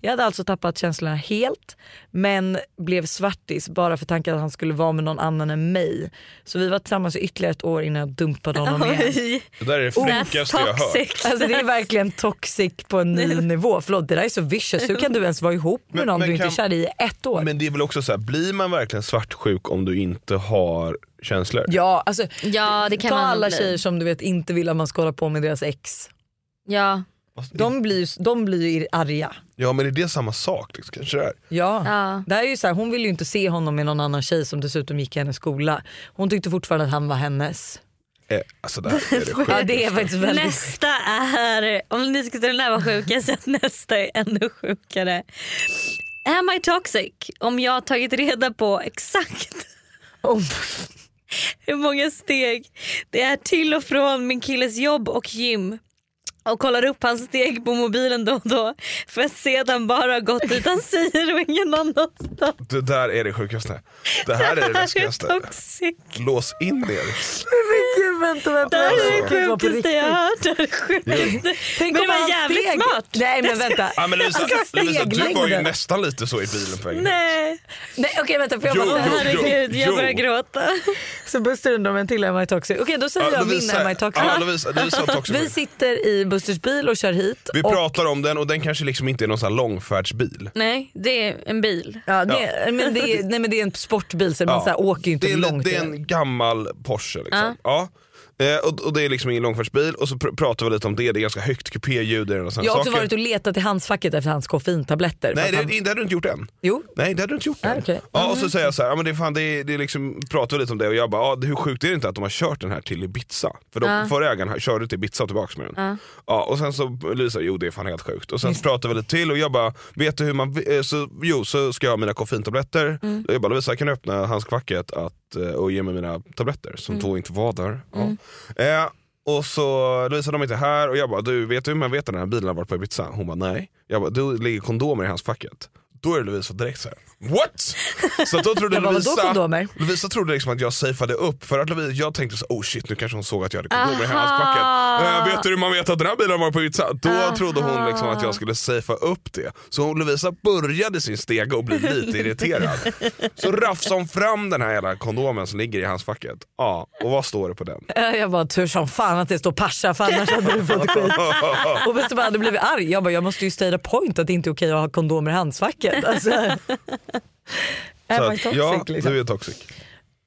Speaker 3: Jag hade alltså tappat känslorna helt men blev svartis bara för tanken att han skulle vara med någon annan än mig. Så vi var tillsammans i ytterligare ett år innan jag dumpade honom igen.
Speaker 1: Oj.
Speaker 2: Det där är det fräckaste jag har hört.
Speaker 1: Toxic.
Speaker 3: Alltså det är verkligen toxic på en ny nivå. Förlåt det där är så vicious. Hur kan du ens vara ihop med
Speaker 2: Men-
Speaker 3: någon
Speaker 2: men
Speaker 3: du inte är
Speaker 2: kan-
Speaker 3: kär i i ett år?
Speaker 2: Men det är väl också så här, blir man verkligen svartsjuk om du inte har känslor?
Speaker 3: Ja, alltså,
Speaker 1: Ja det kan
Speaker 3: ta
Speaker 1: man nog
Speaker 3: alla
Speaker 1: bli.
Speaker 3: tjejer som du vet inte vill att man ska hålla på med deras ex.
Speaker 1: Ja.
Speaker 2: Fast-
Speaker 3: De blir, ju- de blir ju arga.
Speaker 2: ja men är det samma sak? Liksom? Kanske det är.
Speaker 3: Ja.
Speaker 1: Ja.
Speaker 3: Det här är ju så här, hon ville ju inte se honom med någon annan tjej som dessutom gick i hennes skola. Hon tyckte fortfarande att han var hennes.
Speaker 2: Eh, alltså det här är det sjukaste.
Speaker 3: Ja, det är faktiskt väldigt...
Speaker 1: Nästa är, om ni tyckte den där var sjuk, så att nästa är ännu sjukare. Am I toxic? Om jag har tagit reda på exakt
Speaker 3: Om-
Speaker 1: hur många steg det är till och från min killes jobb och gym och kollar upp hans steg på mobilen då och då för att sedan bara ha gått dit han säger och ingen annanstans.
Speaker 2: Det där är det sjukaste. Det här är det läskigaste.
Speaker 1: toxic.
Speaker 2: Lås in er.
Speaker 3: Gud, vänta, vänta.
Speaker 1: Det här
Speaker 3: Alltså,
Speaker 1: är
Speaker 3: det
Speaker 1: det
Speaker 3: var på
Speaker 1: sjukaste
Speaker 3: riktigt.
Speaker 1: jag har hört. Det är sjukt.
Speaker 3: Tänk
Speaker 1: Men
Speaker 3: om
Speaker 1: det var
Speaker 3: hans
Speaker 1: jävligt
Speaker 3: steg-
Speaker 1: smart.
Speaker 3: Nej men vänta.
Speaker 2: Ja, men Lovisa,
Speaker 3: Alltså,
Speaker 2: Lovisa, du var ju
Speaker 3: steglängden.
Speaker 2: nästan lite så i bilen på vägen hit.
Speaker 1: Nej.
Speaker 3: Nej okej vänta får jag
Speaker 2: Jo,
Speaker 3: bara säga.
Speaker 2: jo, jo.
Speaker 1: Herregud, jag
Speaker 2: jo.
Speaker 1: börjar gråta.
Speaker 3: Så Buster undrar om en till Am I toxic. Okej då säger
Speaker 2: Ja,
Speaker 3: jag min
Speaker 2: Lovisa-
Speaker 3: Am I toxic.
Speaker 2: Ja, Lovisa, Lovisa har toxic.
Speaker 3: Vi sitter i Busters bil och kör hit.
Speaker 2: Vi
Speaker 3: och,
Speaker 2: pratar om den och den kanske liksom inte är någon sån här långfärdsbil.
Speaker 1: Nej, det är en bil.
Speaker 3: ja, det, Men det, är- nej, men det är en sportbil så man så här, åker ju inte
Speaker 2: det är, en-
Speaker 3: långt.
Speaker 2: Det är
Speaker 3: i
Speaker 2: en gammal Porsche. Liksom. Ja. Eh, och, och det är liksom ingen långfärdsbil och så pr pratar vi lite om det, det är ganska högt kupéljud i den och
Speaker 3: den.
Speaker 2: såna
Speaker 3: Jag har också
Speaker 2: saker.
Speaker 3: varit och letat i handskfacket efter hans koffeintabletter. för
Speaker 2: Nej
Speaker 3: att
Speaker 2: det,
Speaker 3: han,
Speaker 2: det hade du inte gjort än.
Speaker 3: Jo.
Speaker 2: Nej det hade du inte gjort
Speaker 3: Ah,
Speaker 2: än.
Speaker 3: okej.
Speaker 2: Ja, och så säger jag så här, ja, men det är fan, det är, det är liksom, pratar vi lite om det och jag bara, ja, det- hur sjukt är det inte att de har kört den här till Ibiza? För de,
Speaker 3: Ah.
Speaker 2: förra ägaren har- körde till Ibiza och tillbaka med den. Ja, och sen så Lisa, jo det är fan helt sjukt. Och sen så pratar vi lite till och jag bara, vet du hur man, eh, så, jo så ska jag ha mina koffeintabletter.
Speaker 3: Mm.
Speaker 2: Och jag bara, Lovisa kan du öppna handskfacket att, eh, och ge mig mina tabletter? Som
Speaker 3: Mm.
Speaker 2: då inte var där. Ja. Eh, och så Lovisa de är inte här och jag bara, du vet du hur man vet att den här bilen har varit på Ibiza? Hon bara, nej. Jag bara, du ligger kondomer i handskfacket Då är Lovisa direkt så här. what? Så att då trodde
Speaker 3: Jag bara, vadå
Speaker 2: Lovisa,
Speaker 3: kondomer?
Speaker 2: Lovisa trodde liksom att jag safeade upp för att Lovisa, jag tänkte så oh shit nu kanske hon såg att jag hade kondomer i
Speaker 3: Aha.
Speaker 2: handskfacket. Eh, vet du hur man vet att den här bilen var på Ibiza? Då trodde hon liksom att jag skulle safea upp det. Så hon, Lovisa började sin stege och blev lite irriterad. Så rafsade hon fram den här jävla kondomen som ligger i handskfacket. Ja, och vad står det på den?
Speaker 3: Eh, Jag bara tur som fan att det står Pasha för annars hade du fått skit. Och bäst bara hade blivit arg. Jag bara jag måste ju state a point att det inte är okej att ha kondomer i handskfacket. Alltså, am
Speaker 2: Så
Speaker 3: I
Speaker 2: att,
Speaker 3: toxic,
Speaker 2: ja,
Speaker 3: liksom?
Speaker 2: du är toxic.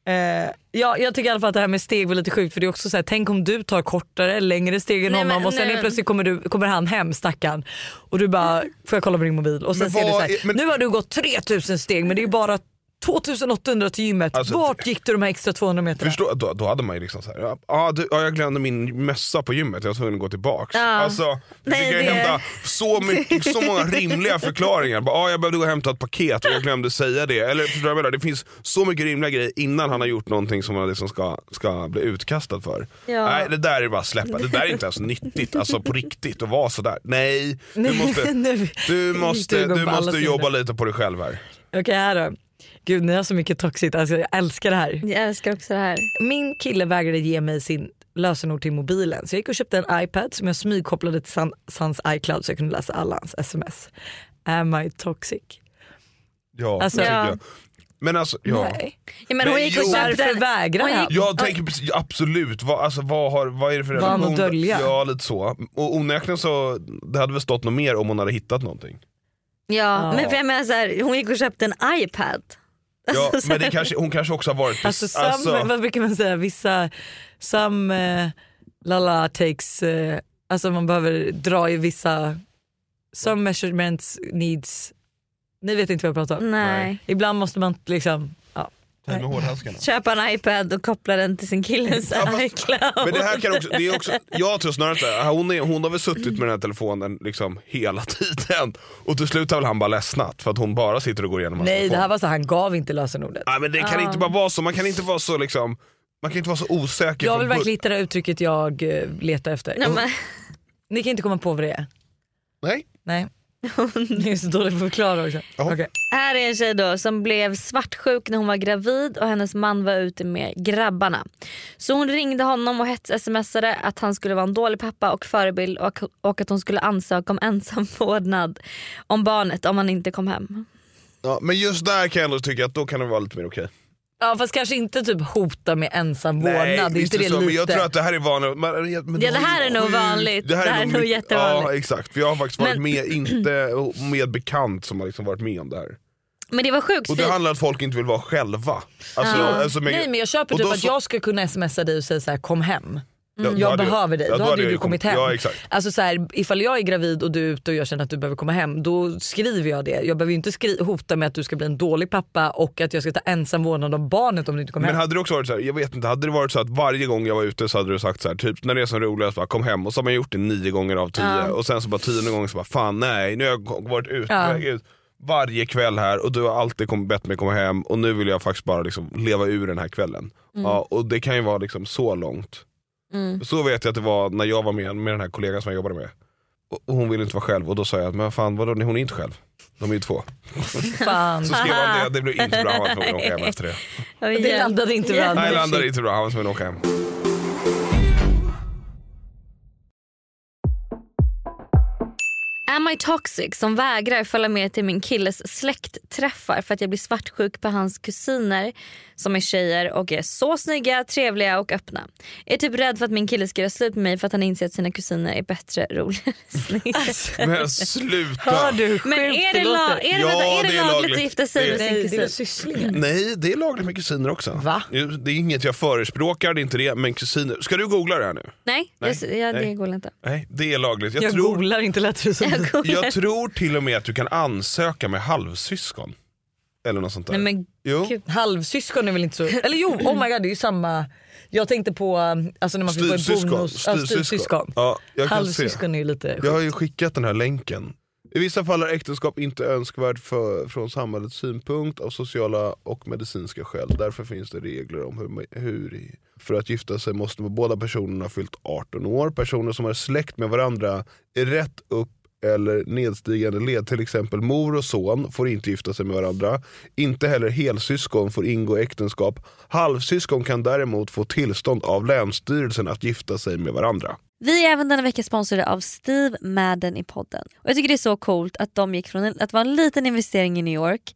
Speaker 3: Eh, ja, jag tycker i alla fall att det här med steg var lite sjukt för det är också så här, tänk om du tar kortare, längre steg än
Speaker 1: Nej,
Speaker 3: honom
Speaker 1: men-
Speaker 3: och sen
Speaker 1: nej,
Speaker 3: helt
Speaker 1: men-
Speaker 3: plötsligt kommer, du, kommer han hem stackaren och du bara får jag kolla på din mobil och sen
Speaker 2: Men
Speaker 3: ser du så
Speaker 2: vad
Speaker 3: här,
Speaker 2: är-
Speaker 3: nu har du gått 3000 steg men det är ju bara 2800 till gymmet.
Speaker 2: Alltså,
Speaker 3: Vart gick du de här extra 200 meterna?
Speaker 2: Förstå, då, då hade man ju liksom såhär, ja, ah, du, ja, jag glömde min mössa på gymmet, jag var tvungen att gå tillbaks.
Speaker 3: Ja.
Speaker 2: Alltså, vi
Speaker 3: Nej,
Speaker 2: fick ju
Speaker 3: det-
Speaker 2: hämta så, mycket, så många rimliga förklaringar. Bara, ah, jag behövde gå och hämta ett paket och jag glömde säga det. Eller, förstår du vad jag menar? det finns så mycket rimliga grejer innan han har gjort någonting som han liksom ska, ska bli utkastad för.
Speaker 3: Ja.
Speaker 2: Nej det där är bara att släppa, det där är inte ens nyttigt alltså, på riktigt att vara sådär. Nej, du
Speaker 3: Nej,
Speaker 2: måste,
Speaker 3: nu-
Speaker 2: du
Speaker 3: nu
Speaker 2: måste,
Speaker 3: gick du
Speaker 2: du
Speaker 3: på alla
Speaker 2: måste
Speaker 3: sidor.
Speaker 2: jobba lite på dig själv här.
Speaker 3: Okej här då. Gud ni har så mycket toxigt, alltså, jag älskar det här.
Speaker 1: Jag älskar också det här.
Speaker 3: Min kille vägrade ge mig sin lösenord till mobilen så jag gick och köpte en iPad som jag smygkopplade till san- hans iCloud så jag kunde läsa alla hans sms. Am I toxic?
Speaker 2: Ja,
Speaker 3: Alltså-
Speaker 2: tycker
Speaker 3: Ja.
Speaker 2: jag. Men alltså, ja.
Speaker 3: Nej.
Speaker 1: Ja, men hon gick och
Speaker 2: jo.
Speaker 1: köpte en-
Speaker 3: vägrar
Speaker 1: hon gick-
Speaker 2: Jag tänker precis- absolut, vad, alltså, vad, har, vad är det för
Speaker 3: Vad har hon att dölja?
Speaker 2: Ja lite så. Och onekligen så, det hade väl stått något mer om hon hade hittat någonting.
Speaker 1: Ja,
Speaker 2: Ja.
Speaker 1: men för jag menar så här, hon gick och köpte en iPad.
Speaker 2: Ja,
Speaker 1: Alltså, så
Speaker 2: men det
Speaker 1: här-
Speaker 2: kanske, hon kanske också har varit...
Speaker 3: Alltså, some,
Speaker 2: alltså,
Speaker 3: vad brukar man säga, vissa, some eh, lala takes, eh, alltså man behöver dra i vissa, some measurements needs, ni vet inte vad jag pratar
Speaker 1: Mm.
Speaker 3: om?
Speaker 1: Nej.
Speaker 3: Ibland måste man liksom, ja.
Speaker 2: med hårdhandskarna.
Speaker 1: Köpa en iPad och koppla den till sin killes iCloud.
Speaker 2: men det här kan också, det är också, jag tror snarare att det här- hon, är, hon har väl suttit med den här telefonen liksom hela tiden och till slut har väl han bara ledsnat för att hon bara sitter och går igenom hans
Speaker 3: Nej det
Speaker 2: telefon.
Speaker 3: här var så här, han gav inte lösenordet.
Speaker 2: Nej, men det kan
Speaker 3: Ah.
Speaker 2: inte bara vara så, man kan inte vara så liksom, man kan inte vara så osäker.
Speaker 3: Jag
Speaker 2: från
Speaker 3: vill
Speaker 2: bör-
Speaker 3: verkligen hitta det uttrycket jag eh, letar efter.
Speaker 1: Nej, men-
Speaker 3: Ni kan inte komma på vad det är?
Speaker 2: Nej.
Speaker 3: Nej. Ni är så dåliga på att förklara också. Okej.
Speaker 1: Här är en tjej då som blev svartsjuk när hon var gravid och hennes man var ute med grabbarna. Så hon ringde honom och hets-smsade att han skulle vara en dålig pappa och förebild och, och att hon skulle ansöka om ensam vårdnad om barnet om han inte kom hem.
Speaker 2: Ja, men just där kan jag ändå tycka att då kan det vara lite mer okej.
Speaker 3: Ja fast kanske inte typ hota med ensam vårdnad. Det är
Speaker 2: visst
Speaker 3: inte det
Speaker 2: så,
Speaker 3: lite.
Speaker 2: men jag tror att det här är vanligt. Men, men
Speaker 1: Ja, det här
Speaker 2: ju
Speaker 1: är nog
Speaker 2: sjukt.
Speaker 1: vanligt. Det här är nog
Speaker 2: mycket-
Speaker 1: jättevanligt.
Speaker 2: Ja exakt, för jag har faktiskt varit
Speaker 1: Men-
Speaker 2: med, inte med bekant som har liksom varit med om det här.
Speaker 1: Men det var sjukt
Speaker 2: Och det
Speaker 1: fint.
Speaker 2: handlar om att folk inte vill vara själva. Alltså,
Speaker 3: Ja.
Speaker 2: alltså, men-
Speaker 3: Nej men jag köper
Speaker 2: och
Speaker 3: typ
Speaker 2: då
Speaker 3: att
Speaker 2: så-
Speaker 3: jag ska kunna smsa dig och säga så här: kom hem.
Speaker 2: Ja, då
Speaker 3: jag
Speaker 2: hade jag-
Speaker 3: behöver dig.
Speaker 2: ja,
Speaker 3: då hade ju du kommit hem.
Speaker 2: Ja, exakt.
Speaker 3: Alltså så här, ifall jag är gravid och du är ute och jag känner att du behöver komma hem då skriver jag det. Jag behöver ju inte skri- hota med att du ska bli en dålig pappa och att jag ska ta ensam vårdnad om barnet om du inte kommer
Speaker 2: Men
Speaker 3: hem.
Speaker 2: hade det också varit så här, jag vet inte, hade det varit så att varje gång jag var ute så hade du sagt så här, typ när det är som roligast, bara, kom hem och så har man gjort det nio gånger av tio
Speaker 3: Ja.
Speaker 2: och sen så bara tionde gången så bara fan nej, nu har jag varit ute
Speaker 3: Ja.
Speaker 2: på väg ut varje kväll här och du har alltid kom, bett mig komma hem och nu vill jag faktiskt bara liksom leva ur den här kvällen.
Speaker 1: Mm.
Speaker 2: Ja, och det kan ju vara liksom så långt.
Speaker 1: Mm.
Speaker 2: Så vet jag att det var när jag var med, med den här kollegan som jag jobbade med. Och och hon ville inte vara själv och då sa jag att men fan vadå, hon är inte själv. De är ju två.
Speaker 3: Fan.
Speaker 2: Så skrev han det, det blev inte bra, han var tvungen att åka hem efter det.
Speaker 3: Det landade inte bra.
Speaker 2: Nej det landade inte bra, han var tvungen att åka hem.
Speaker 1: Am I toxic som vägrar följa med till min killes släktträffar för att jag blir svartsjuk på hans kusiner som är tjejer och är så snygga, trevliga och öppna. Är typ rädd för att min kille ska göra slut med mig för att han inser att sina kusiner är bättre, roligare, snyggare.
Speaker 2: Men sluta.
Speaker 3: Hör du
Speaker 1: Men är det, la- är det,
Speaker 2: Ja,
Speaker 1: vänta, är det,
Speaker 2: det är
Speaker 1: lagligt,
Speaker 2: lagligt.
Speaker 1: att gifta sig
Speaker 2: Det-
Speaker 1: med
Speaker 2: Nej,
Speaker 1: sin
Speaker 2: det är
Speaker 1: kusin?
Speaker 3: sysslingar.
Speaker 2: Nej, det är lagligt med kusiner också. Va? Det är inget jag förespråkar, det är inte det. Men kusiner. Ska du googla det här nu?
Speaker 1: Nej, jag,
Speaker 2: Nej,
Speaker 1: jag, det
Speaker 2: nej.
Speaker 1: går inte.
Speaker 2: Nej, det är lagligt. Jag,
Speaker 3: Jag
Speaker 2: tror,
Speaker 3: googlar inte lät det som.
Speaker 2: jag tror till och med att du kan ansöka med halvsyskon. Eller något sånt där.
Speaker 3: Nej, men
Speaker 2: jo.
Speaker 3: Halvsyskon är väl inte så... Eller jo, oh my god det är ju samma. Jag tänkte på um, alltså när man fick få en
Speaker 2: Styvsyskon.
Speaker 3: bonus... ja,
Speaker 2: Styvsyskon.
Speaker 3: styvsyskon.
Speaker 2: Ja, jag kan
Speaker 3: Halvsyskon
Speaker 2: se.
Speaker 3: är ju lite
Speaker 2: Jag har ju skickat den här länken. I vissa fall är äktenskap inte önskvärt för, från samhällets synpunkt av sociala och medicinska skäl. Därför finns det regler om hur, hur för att gifta sig måste båda personerna ha fyllt 18 år. Personer som är släkt med varandra är rätt upp eller nedstigande led. Till exempel mor och son får inte gifta sig med varandra. Inte heller helsyskon får ingå äktenskap. Halvsyskon kan däremot få tillstånd av Länsstyrelsen att gifta sig med varandra.
Speaker 1: Vi är även denna vecka sponsrade av Steve Madden i podden. Och jag tycker det är så coolt att de gick från en, att vara en liten investering i New York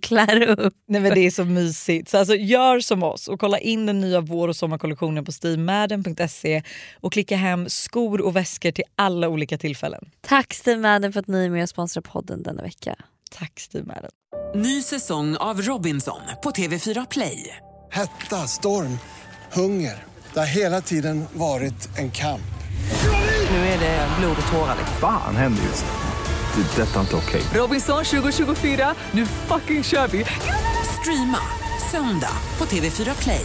Speaker 1: klär upp.
Speaker 3: Nej, men det är så mysigt. Så alltså, gör som oss och kolla in den nya vår och sommarkollektionen på steamadden.se och klicka hem skor och väskor till alla olika tillfällen.
Speaker 1: Tack Steve Madden för att ni är med och sponsrar podden denna vecka.
Speaker 3: Tack Steve Madden.
Speaker 6: Ny säsong av Robinson på TV4 Play.
Speaker 7: Hetta, storm, hunger. Det har hela tiden varit en kamp.
Speaker 6: Nu är det blod och tårar.
Speaker 9: Fan händer just nu. Det. är Detta är inte okej.
Speaker 6: Robinson 2024, nu fucking kör vi! Streama söndag på TV4 Play.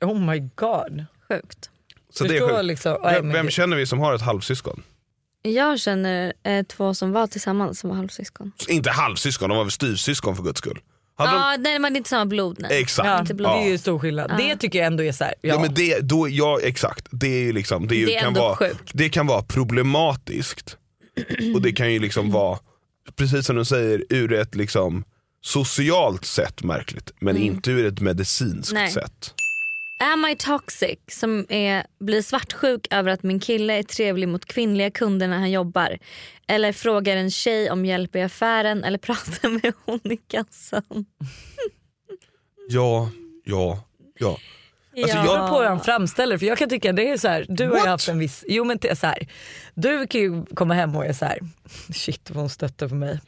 Speaker 3: Oh my god.
Speaker 1: Sjukt.
Speaker 2: Så det är
Speaker 3: Förstå
Speaker 2: sjukt.
Speaker 3: liksom- nej,
Speaker 2: Vem,
Speaker 3: men
Speaker 2: vem
Speaker 3: det-
Speaker 2: känner vi som har ett halvsyskon?
Speaker 1: Jag känner eh, två som var tillsammans som var halvsyskon.
Speaker 2: Inte halvsyskon, de var väl styvsyskon för guds skull.
Speaker 1: Ja,
Speaker 2: Hade de...
Speaker 1: nej men det är inte samma blod nej.
Speaker 2: Exakt.
Speaker 1: Inte blod.
Speaker 2: Ja.
Speaker 3: Det är ju stor skillnad.
Speaker 1: Ja.
Speaker 3: Det tycker jag ändå är så här, ja.
Speaker 2: Ja. men det, då, ja exakt, det är ju liksom, det, är ju,
Speaker 3: Det är
Speaker 2: kan
Speaker 3: ändå
Speaker 2: vara,
Speaker 3: sjukt.
Speaker 2: det kan vara problematiskt och det kan ju liksom vara, precis som du säger, ur ett liksom socialt sätt märkligt men
Speaker 1: Mm.
Speaker 2: inte ur ett medicinskt
Speaker 1: Nej.
Speaker 2: sätt.
Speaker 1: Am I toxic som är, blir svartsjuk över att min kille är trevlig mot kvinnliga kunder när han jobbar? Eller frågar en tjej om hjälp i affären eller pratar med hon i kassan?
Speaker 2: Ja, ja, ja.
Speaker 3: Alltså,
Speaker 1: Ja.
Speaker 3: Jag beror på hur han framställer för jag kan tycka det är så här, du har
Speaker 1: What?
Speaker 3: ju haft en viss, jo men det är så här, du kan ju komma hem och är så här, shit vad hon stötte på mig.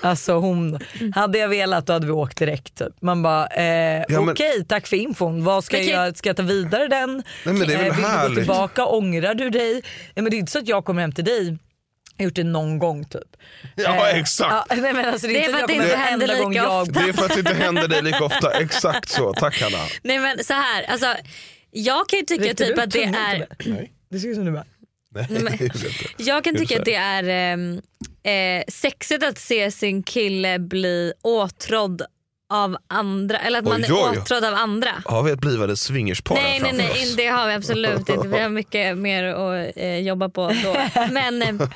Speaker 3: alltså hon,
Speaker 1: Mm.
Speaker 3: hade jag velat då hade vi åkt direkt typ. Man bara, eh,
Speaker 2: men-
Speaker 3: okej tack för infon, vad ska
Speaker 2: Men kan-
Speaker 3: jag, ska jag ta vidare den? Eh,
Speaker 2: Nej, men det är väl
Speaker 3: vill du gå
Speaker 2: härligt.
Speaker 3: tillbaka, ångrar du dig? Nej, men det är inte så att jag kommer hem till dig, jag har gjort det någon gång typ.
Speaker 2: Ja
Speaker 3: Eh,
Speaker 2: exakt.
Speaker 3: ja, nej, men alltså, det är,
Speaker 1: Det är
Speaker 3: inte
Speaker 1: för
Speaker 3: så
Speaker 1: att
Speaker 3: att
Speaker 1: det
Speaker 3: jag kommer
Speaker 1: inte
Speaker 3: hem
Speaker 1: händer
Speaker 3: enda gång
Speaker 1: lika
Speaker 3: jag
Speaker 1: ofta.
Speaker 2: Det är för att det inte händer dig lika ofta, exakt så, tack Hanna.
Speaker 1: Nej men så här, alltså, jag kan ju tycka
Speaker 3: Riktar
Speaker 1: typ
Speaker 3: du
Speaker 1: att det
Speaker 3: tummen
Speaker 1: är...
Speaker 3: till mig? Det ser ut som du bara,
Speaker 2: Nej,
Speaker 1: men-
Speaker 2: det gjorde jag inte.
Speaker 1: Jag kan
Speaker 2: Hur
Speaker 1: tycka
Speaker 2: så?
Speaker 1: att det är ehm, eh, sexigt att se sin kille bli åtrådd av andra. Eller att man
Speaker 2: Oj, oj.
Speaker 1: är åtrådd av andra.
Speaker 2: Har vi ett blivande swingerspar här
Speaker 1: Nej, nej,
Speaker 2: framför
Speaker 1: nej,
Speaker 2: oss?
Speaker 1: in- det har vi absolut inte. Vi har mycket mer att eh, jobba på då. Men eh,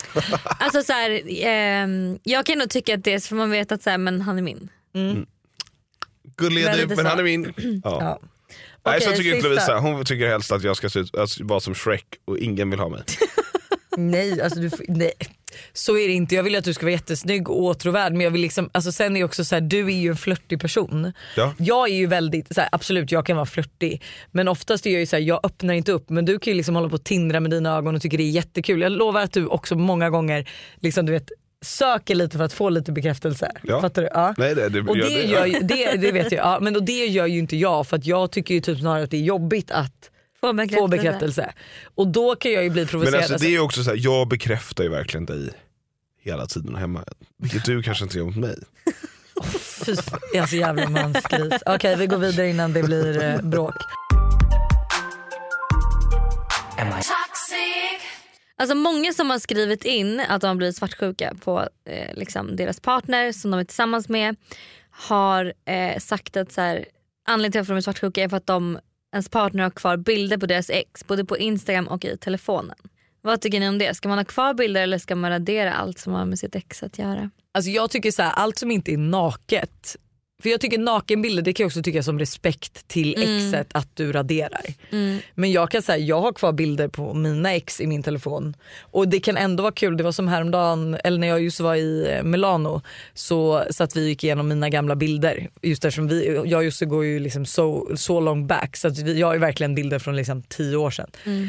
Speaker 1: alltså så här, ehm, jag kan nog tycka att det är för man vet att så här, men han är min.
Speaker 2: Gullig
Speaker 1: Men
Speaker 2: är
Speaker 1: lite
Speaker 2: du men
Speaker 1: så.
Speaker 2: han är min. Ja.
Speaker 1: Ja.
Speaker 2: Nej, så
Speaker 1: Okej,
Speaker 2: tycker inte
Speaker 1: sista.
Speaker 2: Lovisa. Hon tycker helst att jag ska se ut, att vara som Shrek och ingen vill ha mig.
Speaker 3: Nej, alltså du, får- nej, så är det inte. Jag vill att du ska vara jättesnygg och åtråvärd men jag vill liksom, alltså sen är det också så här, du är ju en flörtig person.
Speaker 2: Ja.
Speaker 3: Jag är ju väldigt, så här, absolut jag kan vara flörtig men oftast är jag ju så här, jag öppnar inte upp men du kan ju liksom hålla på och tindra med dina ögon och tycker det är jättekul. Jag lovar att du också många gånger liksom, du vet, söker lite för att få lite bekräftelse.
Speaker 2: Ja.
Speaker 3: Fattar du? Ja.
Speaker 2: Nej, det, det,
Speaker 3: Och
Speaker 2: ja,
Speaker 3: det, gör ju, det, det vet jag, ja, men och det gör ju inte jag för att jag tycker ju typ snarare att det är jobbigt att
Speaker 1: få
Speaker 3: bekräftelse. Och då kan jag ju bli provocerad.
Speaker 2: Men alltså, det är ju också så här, jag bekräftar ju verkligen dig hela tiden hemma. Vilket du kanske inte gör mot mig.
Speaker 3: Fy fan, alltså jävla mansgris. Okej vi går vidare innan det blir eh, bråk.
Speaker 1: Toxic. Alltså många som har skrivit in att de har blivit svartsjuka på eh, liksom deras partner som de är tillsammans med har eh, sagt att så här, anledningen till att de är svartsjuka är för att de, ens partner har kvar bilder på deras ex både på Instagram och i telefonen. Vad tycker ni om det? Ska man ha kvar bilder eller ska man radera allt som har med sitt ex att göra?
Speaker 3: Alltså jag tycker så här, allt som inte är naket. För jag tycker nakenbilder det kan jag också tycka som respekt till
Speaker 1: Mm.
Speaker 3: exet att du raderar.
Speaker 1: Mm.
Speaker 3: Men jag kan säga, jag har kvar bilder på mina ex i min telefon. Och det kan ändå vara kul, det var som häromdagen, eller när jag just var i eh, Milano så satt vi och gick igenom mina gamla bilder. Just eftersom vi, jag och Jussi går ju liksom så so, long back så att vi, jag har ju verkligen bilder från liksom tio år sedan.
Speaker 2: Mm.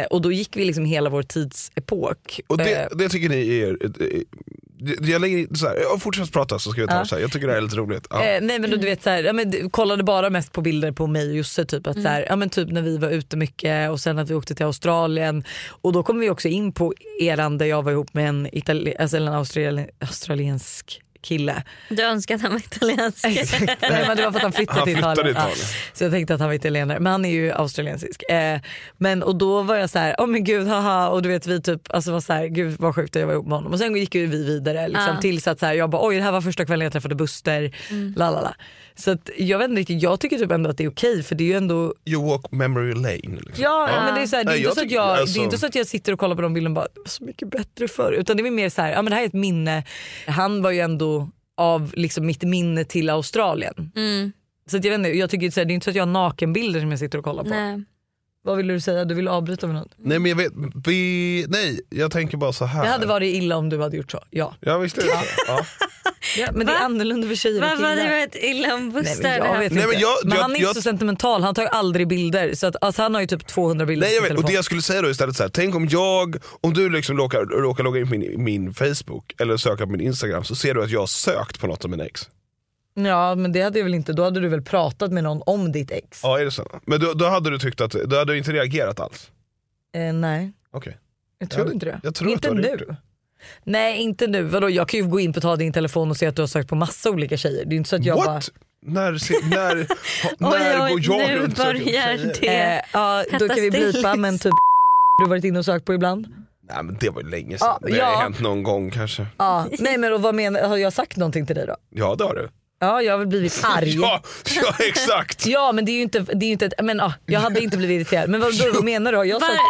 Speaker 3: Eh, och då gick vi liksom hela vår tidsepok.
Speaker 2: Och
Speaker 3: Eh,
Speaker 2: det, det tycker ni är... det- Jag lägger in så här, jag fortsätter prata så ska vi ta
Speaker 3: Ja.
Speaker 2: det så här. Jag tycker det här är lite roligt. Ja.
Speaker 3: Eh, nej men då, du vet såhär, ja, men, du kollade bara mest på bilder på mig och Josse typ, att, såhär, ja, men, typ när vi var ute mycket och sen att vi åkte till Australien och då kom vi också in på eran där jag var ihop med en, Itali- alltså, en australi- australiensk kille.
Speaker 1: Du önskar att han var italiensk.
Speaker 3: Nej, men det var för att han flyttade
Speaker 1: Han
Speaker 3: till
Speaker 1: flyttade
Speaker 3: Italien.
Speaker 1: till
Speaker 3: Ja.
Speaker 1: Italien.
Speaker 3: Så jag tänkte att han var italienare men han är ju australiensisk. Eh, men och då var jag så här, åh men gud haha och du vet vi typ alltså var så här, gud vad sjukt att jag var ihop med honom. Och sen gick ju vi vidare liksom,
Speaker 1: Ja.
Speaker 3: tills att så här, jag bara oj det här var första kvällen jag träffade Buster.
Speaker 1: Mm.
Speaker 3: La, la, la. Så att, jag vet inte riktigt, jag tycker typ ändå att det är okej för det är ju ändå
Speaker 2: You walk memory lane. Liksom.
Speaker 3: Ja, men det är, så här, det, är
Speaker 2: Nej,
Speaker 3: inte så att
Speaker 2: tycker-
Speaker 3: jag,
Speaker 2: alltså-
Speaker 3: det är inte så att jag sitter och kollar på de bilderna och bara det var så mycket bättre förr. Utan det är mer så här, ja men det här är ett minne. Han var ju ändå av liksom mitt minne till Australien.
Speaker 1: Mm.
Speaker 3: Så att jag vet inte, jag tycker så här, det är inte så att jag har nakenbilder som jag sitter och kollar på.
Speaker 1: Nej.
Speaker 3: Vad ville du säga? Du ville avbryta med något?
Speaker 2: Nej men jag vet, vi, nej jag tänker bara så här.
Speaker 3: Det hade varit illa om du hade gjort så. Ja.
Speaker 2: Ja visst är det så. ja.
Speaker 3: men det är annorlunda för tjejer
Speaker 1: Vad
Speaker 3: och
Speaker 1: var
Speaker 3: killar.
Speaker 1: det varit illa om
Speaker 3: Nej,
Speaker 1: Buster?
Speaker 3: men jag vet inte.
Speaker 2: men jag-
Speaker 3: men
Speaker 2: jag-
Speaker 3: han är inte
Speaker 2: jag-
Speaker 3: så sentimental, han tar ju aldrig bilder. Så att, alltså, han har ju typ 200 bilder
Speaker 2: Nej jag
Speaker 3: på
Speaker 2: vet, och det
Speaker 3: telefonen.
Speaker 2: jag skulle säga då istället så här, tänk om jag, om du liksom råkar, råkar logga in på min, min Facebook eller söka på min Instagram så ser du att jag har sökt på något av mina ex.
Speaker 3: Ja men det hade jag väl inte, då hade du väl pratat med någon om ditt ex?
Speaker 2: Ja är det så? Men då, då hade du tyckt att, då hade du inte reagerat alls?
Speaker 3: Eh, nej.
Speaker 2: Okej.
Speaker 3: Jag tror
Speaker 2: hade-
Speaker 3: inte det.
Speaker 2: jag tror
Speaker 3: inte
Speaker 2: att du hade gjort
Speaker 3: nu. Nej inte nu. Vadå, jag kan ju gå in på ta din telefon och se att du har sökt på massa olika tjejer. Det är inte så att jag
Speaker 2: What?
Speaker 3: bara...
Speaker 2: När, se- när, ha- när går jag runt och söker på tjejer?
Speaker 3: Eh, ja, då
Speaker 2: hetta
Speaker 3: kan vi blipa
Speaker 2: stills.
Speaker 3: men typ du har varit inne och sökt på ibland.
Speaker 2: Nej men det var ju länge sedan,
Speaker 3: Ja,
Speaker 2: det
Speaker 3: ja.
Speaker 2: har hänt någon gång kanske.
Speaker 3: Ja, nej men och vad menar, har jag sagt någonting till dig då?
Speaker 2: Ja det har du.
Speaker 3: Ja jag har väl blivit arg.
Speaker 2: Ja, ja exakt.
Speaker 3: ja men det är ju inte, det är ju inte ett, men ah, jag hade inte blivit irriterad. Men vad, vad menar du? Har jag
Speaker 1: Var-
Speaker 3: sagt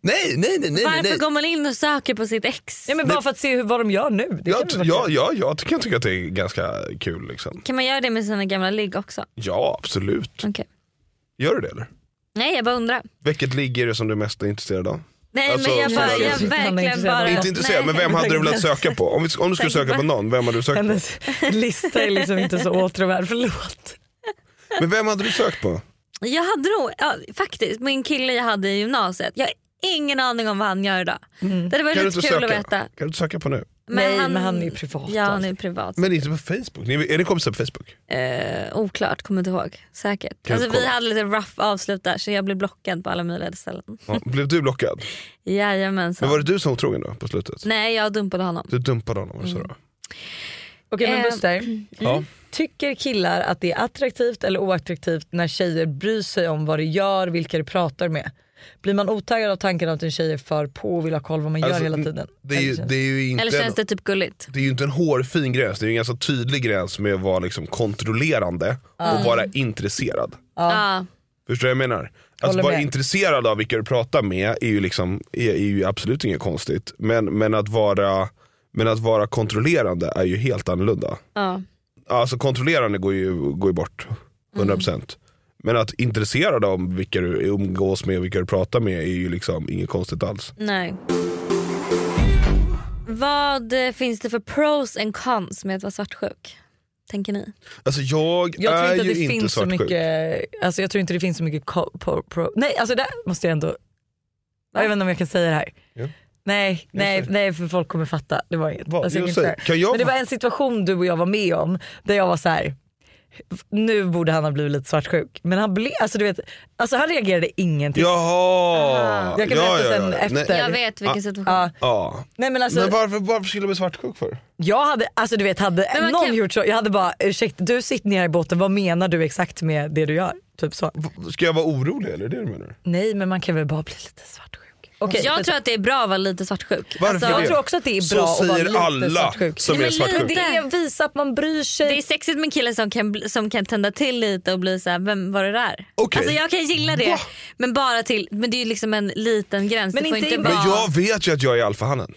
Speaker 2: Nej, nej, nej. nej
Speaker 1: Varför går man in och söker på sitt ex?
Speaker 3: Ja, men bara för att se hur, vad de gör nu. Det
Speaker 2: Ja,
Speaker 3: kan väl vara
Speaker 2: ja,
Speaker 3: kul.
Speaker 2: ja, jag tycker, jag tycker att det är ganska kul liksom.
Speaker 1: Kan man göra det med sina gamla ligg också?
Speaker 2: Ja absolut.
Speaker 1: Okej.
Speaker 2: Gör du det eller?
Speaker 1: Nej jag bara undrar.
Speaker 2: Vilket ligg är det som du är mest är intresserad av?
Speaker 1: Nej
Speaker 2: Alltså,
Speaker 1: men jag,
Speaker 2: sådär
Speaker 1: bara, jag
Speaker 2: liksom.
Speaker 1: verkligen
Speaker 3: intresserad av
Speaker 1: bara...
Speaker 3: det.
Speaker 2: Inte intresserad, men vem
Speaker 3: Nej.
Speaker 2: hade du velat söka på? Om, vi, om du skulle
Speaker 1: Tänk
Speaker 2: söka på
Speaker 1: bara.
Speaker 2: någon, vem hade du sökt på?
Speaker 3: Hennes lista är liksom inte så åtråvärd, förlåt.
Speaker 2: Men vem hade du sökt på?
Speaker 1: Jag hade nog, ja, faktiskt, min kille jag hade i gymnasiet. Jag har ingen aning om vad han gör idag. Det hade varit
Speaker 2: Kan du
Speaker 1: lite
Speaker 2: inte
Speaker 1: kul
Speaker 2: söka?
Speaker 1: att veta.
Speaker 2: Kan du inte söka på nu?
Speaker 1: Men
Speaker 3: Mm. Nej
Speaker 1: han-
Speaker 3: men han är ju privat. alltså.
Speaker 1: Ja han är privat.
Speaker 2: Men inte på Facebook? Ni, är ni kompisar på Facebook?
Speaker 1: Eh, oklart, kommer inte ihåg. Säkert.
Speaker 2: Kan
Speaker 1: Alltså,
Speaker 2: du
Speaker 1: vi
Speaker 2: kolla?
Speaker 1: hade lite rough avslut där så jag blev blockad på alla möjliga ställen.
Speaker 2: Ja, blev du blockad? Men
Speaker 1: Jajamensan.
Speaker 2: var det du som var otrogen då på slutet?
Speaker 1: Nej Mm. jag dumpade honom.
Speaker 2: Du dumpade honom, var det så då?
Speaker 3: Okej men
Speaker 1: Eh,
Speaker 3: Buster,
Speaker 2: Ja.
Speaker 3: Ehm, Mm. tycker killar att det är attraktivt eller oattraktivt när tjejer bryr sig om vad de gör, vilka de pratar med? Blir man otaggad av tanken att en tjej är för på och vill ha koll vad man
Speaker 2: Alltså,
Speaker 3: gör hela tiden?
Speaker 2: Det är ju, det är ju inte
Speaker 1: Eller
Speaker 2: en-
Speaker 1: känns det typ gulligt?
Speaker 2: det är ju inte en hårfin gräns, det är ju en ganska tydlig gräns med att vara liksom kontrollerande
Speaker 1: Mm.
Speaker 2: och vara intresserad.
Speaker 1: Ja.
Speaker 2: Förstår du vad jag menar? Att
Speaker 1: Håller
Speaker 2: vara
Speaker 1: med.
Speaker 2: intresserad av vilka du pratar med är ju, liksom, är, är ju absolut inget konstigt. Men, men, att vara, men att vara kontrollerande är ju helt annorlunda.
Speaker 1: Ja.
Speaker 2: Alltså kontrollerande går ju, går ju bort
Speaker 3: Mm.
Speaker 2: 100%. Men att intresserad av vilka du umgås med och vilka du pratar med är ju liksom inget konstigt alls.
Speaker 1: Nej. Vad eh, finns det för pros and cons med att vara svartsjuk? Tänker ni?
Speaker 2: Alltså jag,
Speaker 3: Jag tror
Speaker 2: är
Speaker 3: inte
Speaker 2: ju
Speaker 3: att det
Speaker 2: inte
Speaker 3: finns så
Speaker 2: svartsjuk.
Speaker 3: mycket, alltså jag tror inte det finns så mycket ko- po- pro, nej alltså det måste jag ändå, jag vet inte om jag kan säga det här.
Speaker 2: Ja.
Speaker 3: Nej, nej, nej för folk kommer fatta. Det var inget.
Speaker 2: Vad?
Speaker 3: Alltså, jag
Speaker 2: Jo,
Speaker 3: kan inte
Speaker 2: säg.
Speaker 3: säga.
Speaker 2: Kan jag
Speaker 3: Men det
Speaker 2: få-
Speaker 3: var en situation du och jag var med om där jag var så här. nu borde han ha blivit lite svartsjuk. Men han blev, alltså du vet, alltså han reagerade ingenting.
Speaker 2: Jaha!
Speaker 3: Jag kan berätta sen efter.
Speaker 2: Nej.
Speaker 3: Jag vet vilken
Speaker 2: Ah,
Speaker 3: situation. Ja.
Speaker 2: Ja.
Speaker 3: Nej, men alltså-
Speaker 2: varför, varför skulle du bli svartsjuk för?
Speaker 3: Jag hade, alltså du vet hade
Speaker 1: Men man
Speaker 3: någon
Speaker 1: kan-
Speaker 3: gjort så, jag hade bara ursäkta du sitter ner i båten, vad menar du exakt med det du gör? Typ så.
Speaker 2: Ska jag vara orolig eller är det det du menar?
Speaker 3: Nej men man kan väl bara bli lite svartsjuk. Okej.
Speaker 1: Jag tror att det är bra att vara lite svartsjuk.
Speaker 2: Varför
Speaker 3: Alltså, jag
Speaker 2: det?
Speaker 3: tror också att det är
Speaker 2: Så
Speaker 3: bra att vara
Speaker 2: säger
Speaker 3: lite
Speaker 2: alla
Speaker 3: svartsjuk.
Speaker 2: som är svartsjuka.
Speaker 1: det visar att man bryr sig. Det är sexigt med en kille som kan, bli- som kan tända till lite och bli så här, vem var det där?
Speaker 2: Okej.
Speaker 1: Alltså jag kan gilla det. Men bara till, men det är ju liksom en liten gräns.
Speaker 3: Men
Speaker 1: det får
Speaker 3: inte
Speaker 1: inte,
Speaker 3: i-
Speaker 1: vara...
Speaker 2: Men jag vet ju att jag är alfahannen.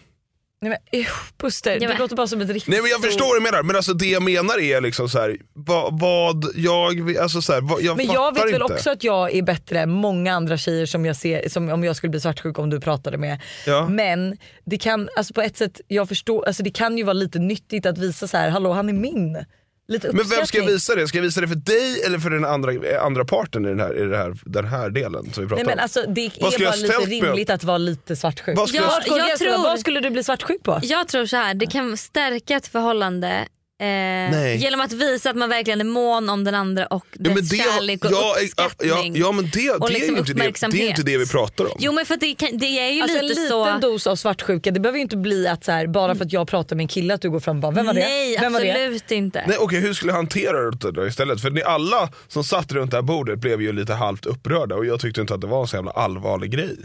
Speaker 3: Nej, men, usch, Buster,
Speaker 1: Ja,
Speaker 3: det
Speaker 1: men-
Speaker 3: låter bara som ett riktigt...
Speaker 2: Nej men jag förstår vad du menar, men alltså det jag menar är liksom så här, vad, vad jag, alltså så här, vad, jag
Speaker 3: men
Speaker 2: fattar
Speaker 3: jag vet
Speaker 2: inte.
Speaker 3: väl också att jag är bättre än många andra tjejer som jag ser, som om jag skulle bli svartsjuk om du pratade med.
Speaker 2: Ja.
Speaker 3: Men det kan, alltså på ett sätt, jag förstår, alltså det kan ju vara lite nyttigt att visa så här, hallå han är min. Lite
Speaker 2: Men vem ska jag
Speaker 3: uppskattning.
Speaker 2: visa det? Ska jag visa det för dig eller för den andra, andra parten i den här, i den här, den här delen som vi pratar
Speaker 3: Nej men
Speaker 2: om?
Speaker 3: alltså det
Speaker 2: Vad
Speaker 3: är
Speaker 2: ska jag
Speaker 3: bara lite
Speaker 2: ställt med?
Speaker 3: rimligt att vara lite svartsjuk.
Speaker 2: Vad ska jag-
Speaker 1: Jag- jag
Speaker 3: jag
Speaker 1: tror-
Speaker 3: tror... vad skulle du bli svartsjuk på?
Speaker 1: Jag tror så här, det kan stärka ett förhållande eh,
Speaker 2: Nej.
Speaker 1: genom att visa att man verkligen är mån om den andra och
Speaker 2: Ja,
Speaker 1: dess
Speaker 2: men det,
Speaker 1: kärlek och
Speaker 2: ja, ja,
Speaker 1: uppskattning.
Speaker 2: ja, ja men det,
Speaker 1: och liksom
Speaker 2: det, är ju inte det, det är inte det vi pratar om.
Speaker 1: Jo men för att det, kan, det är ju
Speaker 3: Alltså en
Speaker 1: lite
Speaker 3: liten
Speaker 1: så...
Speaker 3: dos av svartsjuka, det behöver ju inte bli att så här, bara för att jag pratar med en kille att du går fram och bara vem var det?
Speaker 1: Nej
Speaker 3: vem var det?
Speaker 1: absolut inte.
Speaker 2: Nej, okej, hur skulle jag hantera det då istället? För ni alla som satt runt det här bordet blev ju lite halvt upprörda och jag tyckte inte att det var en så jävla allvarlig grej.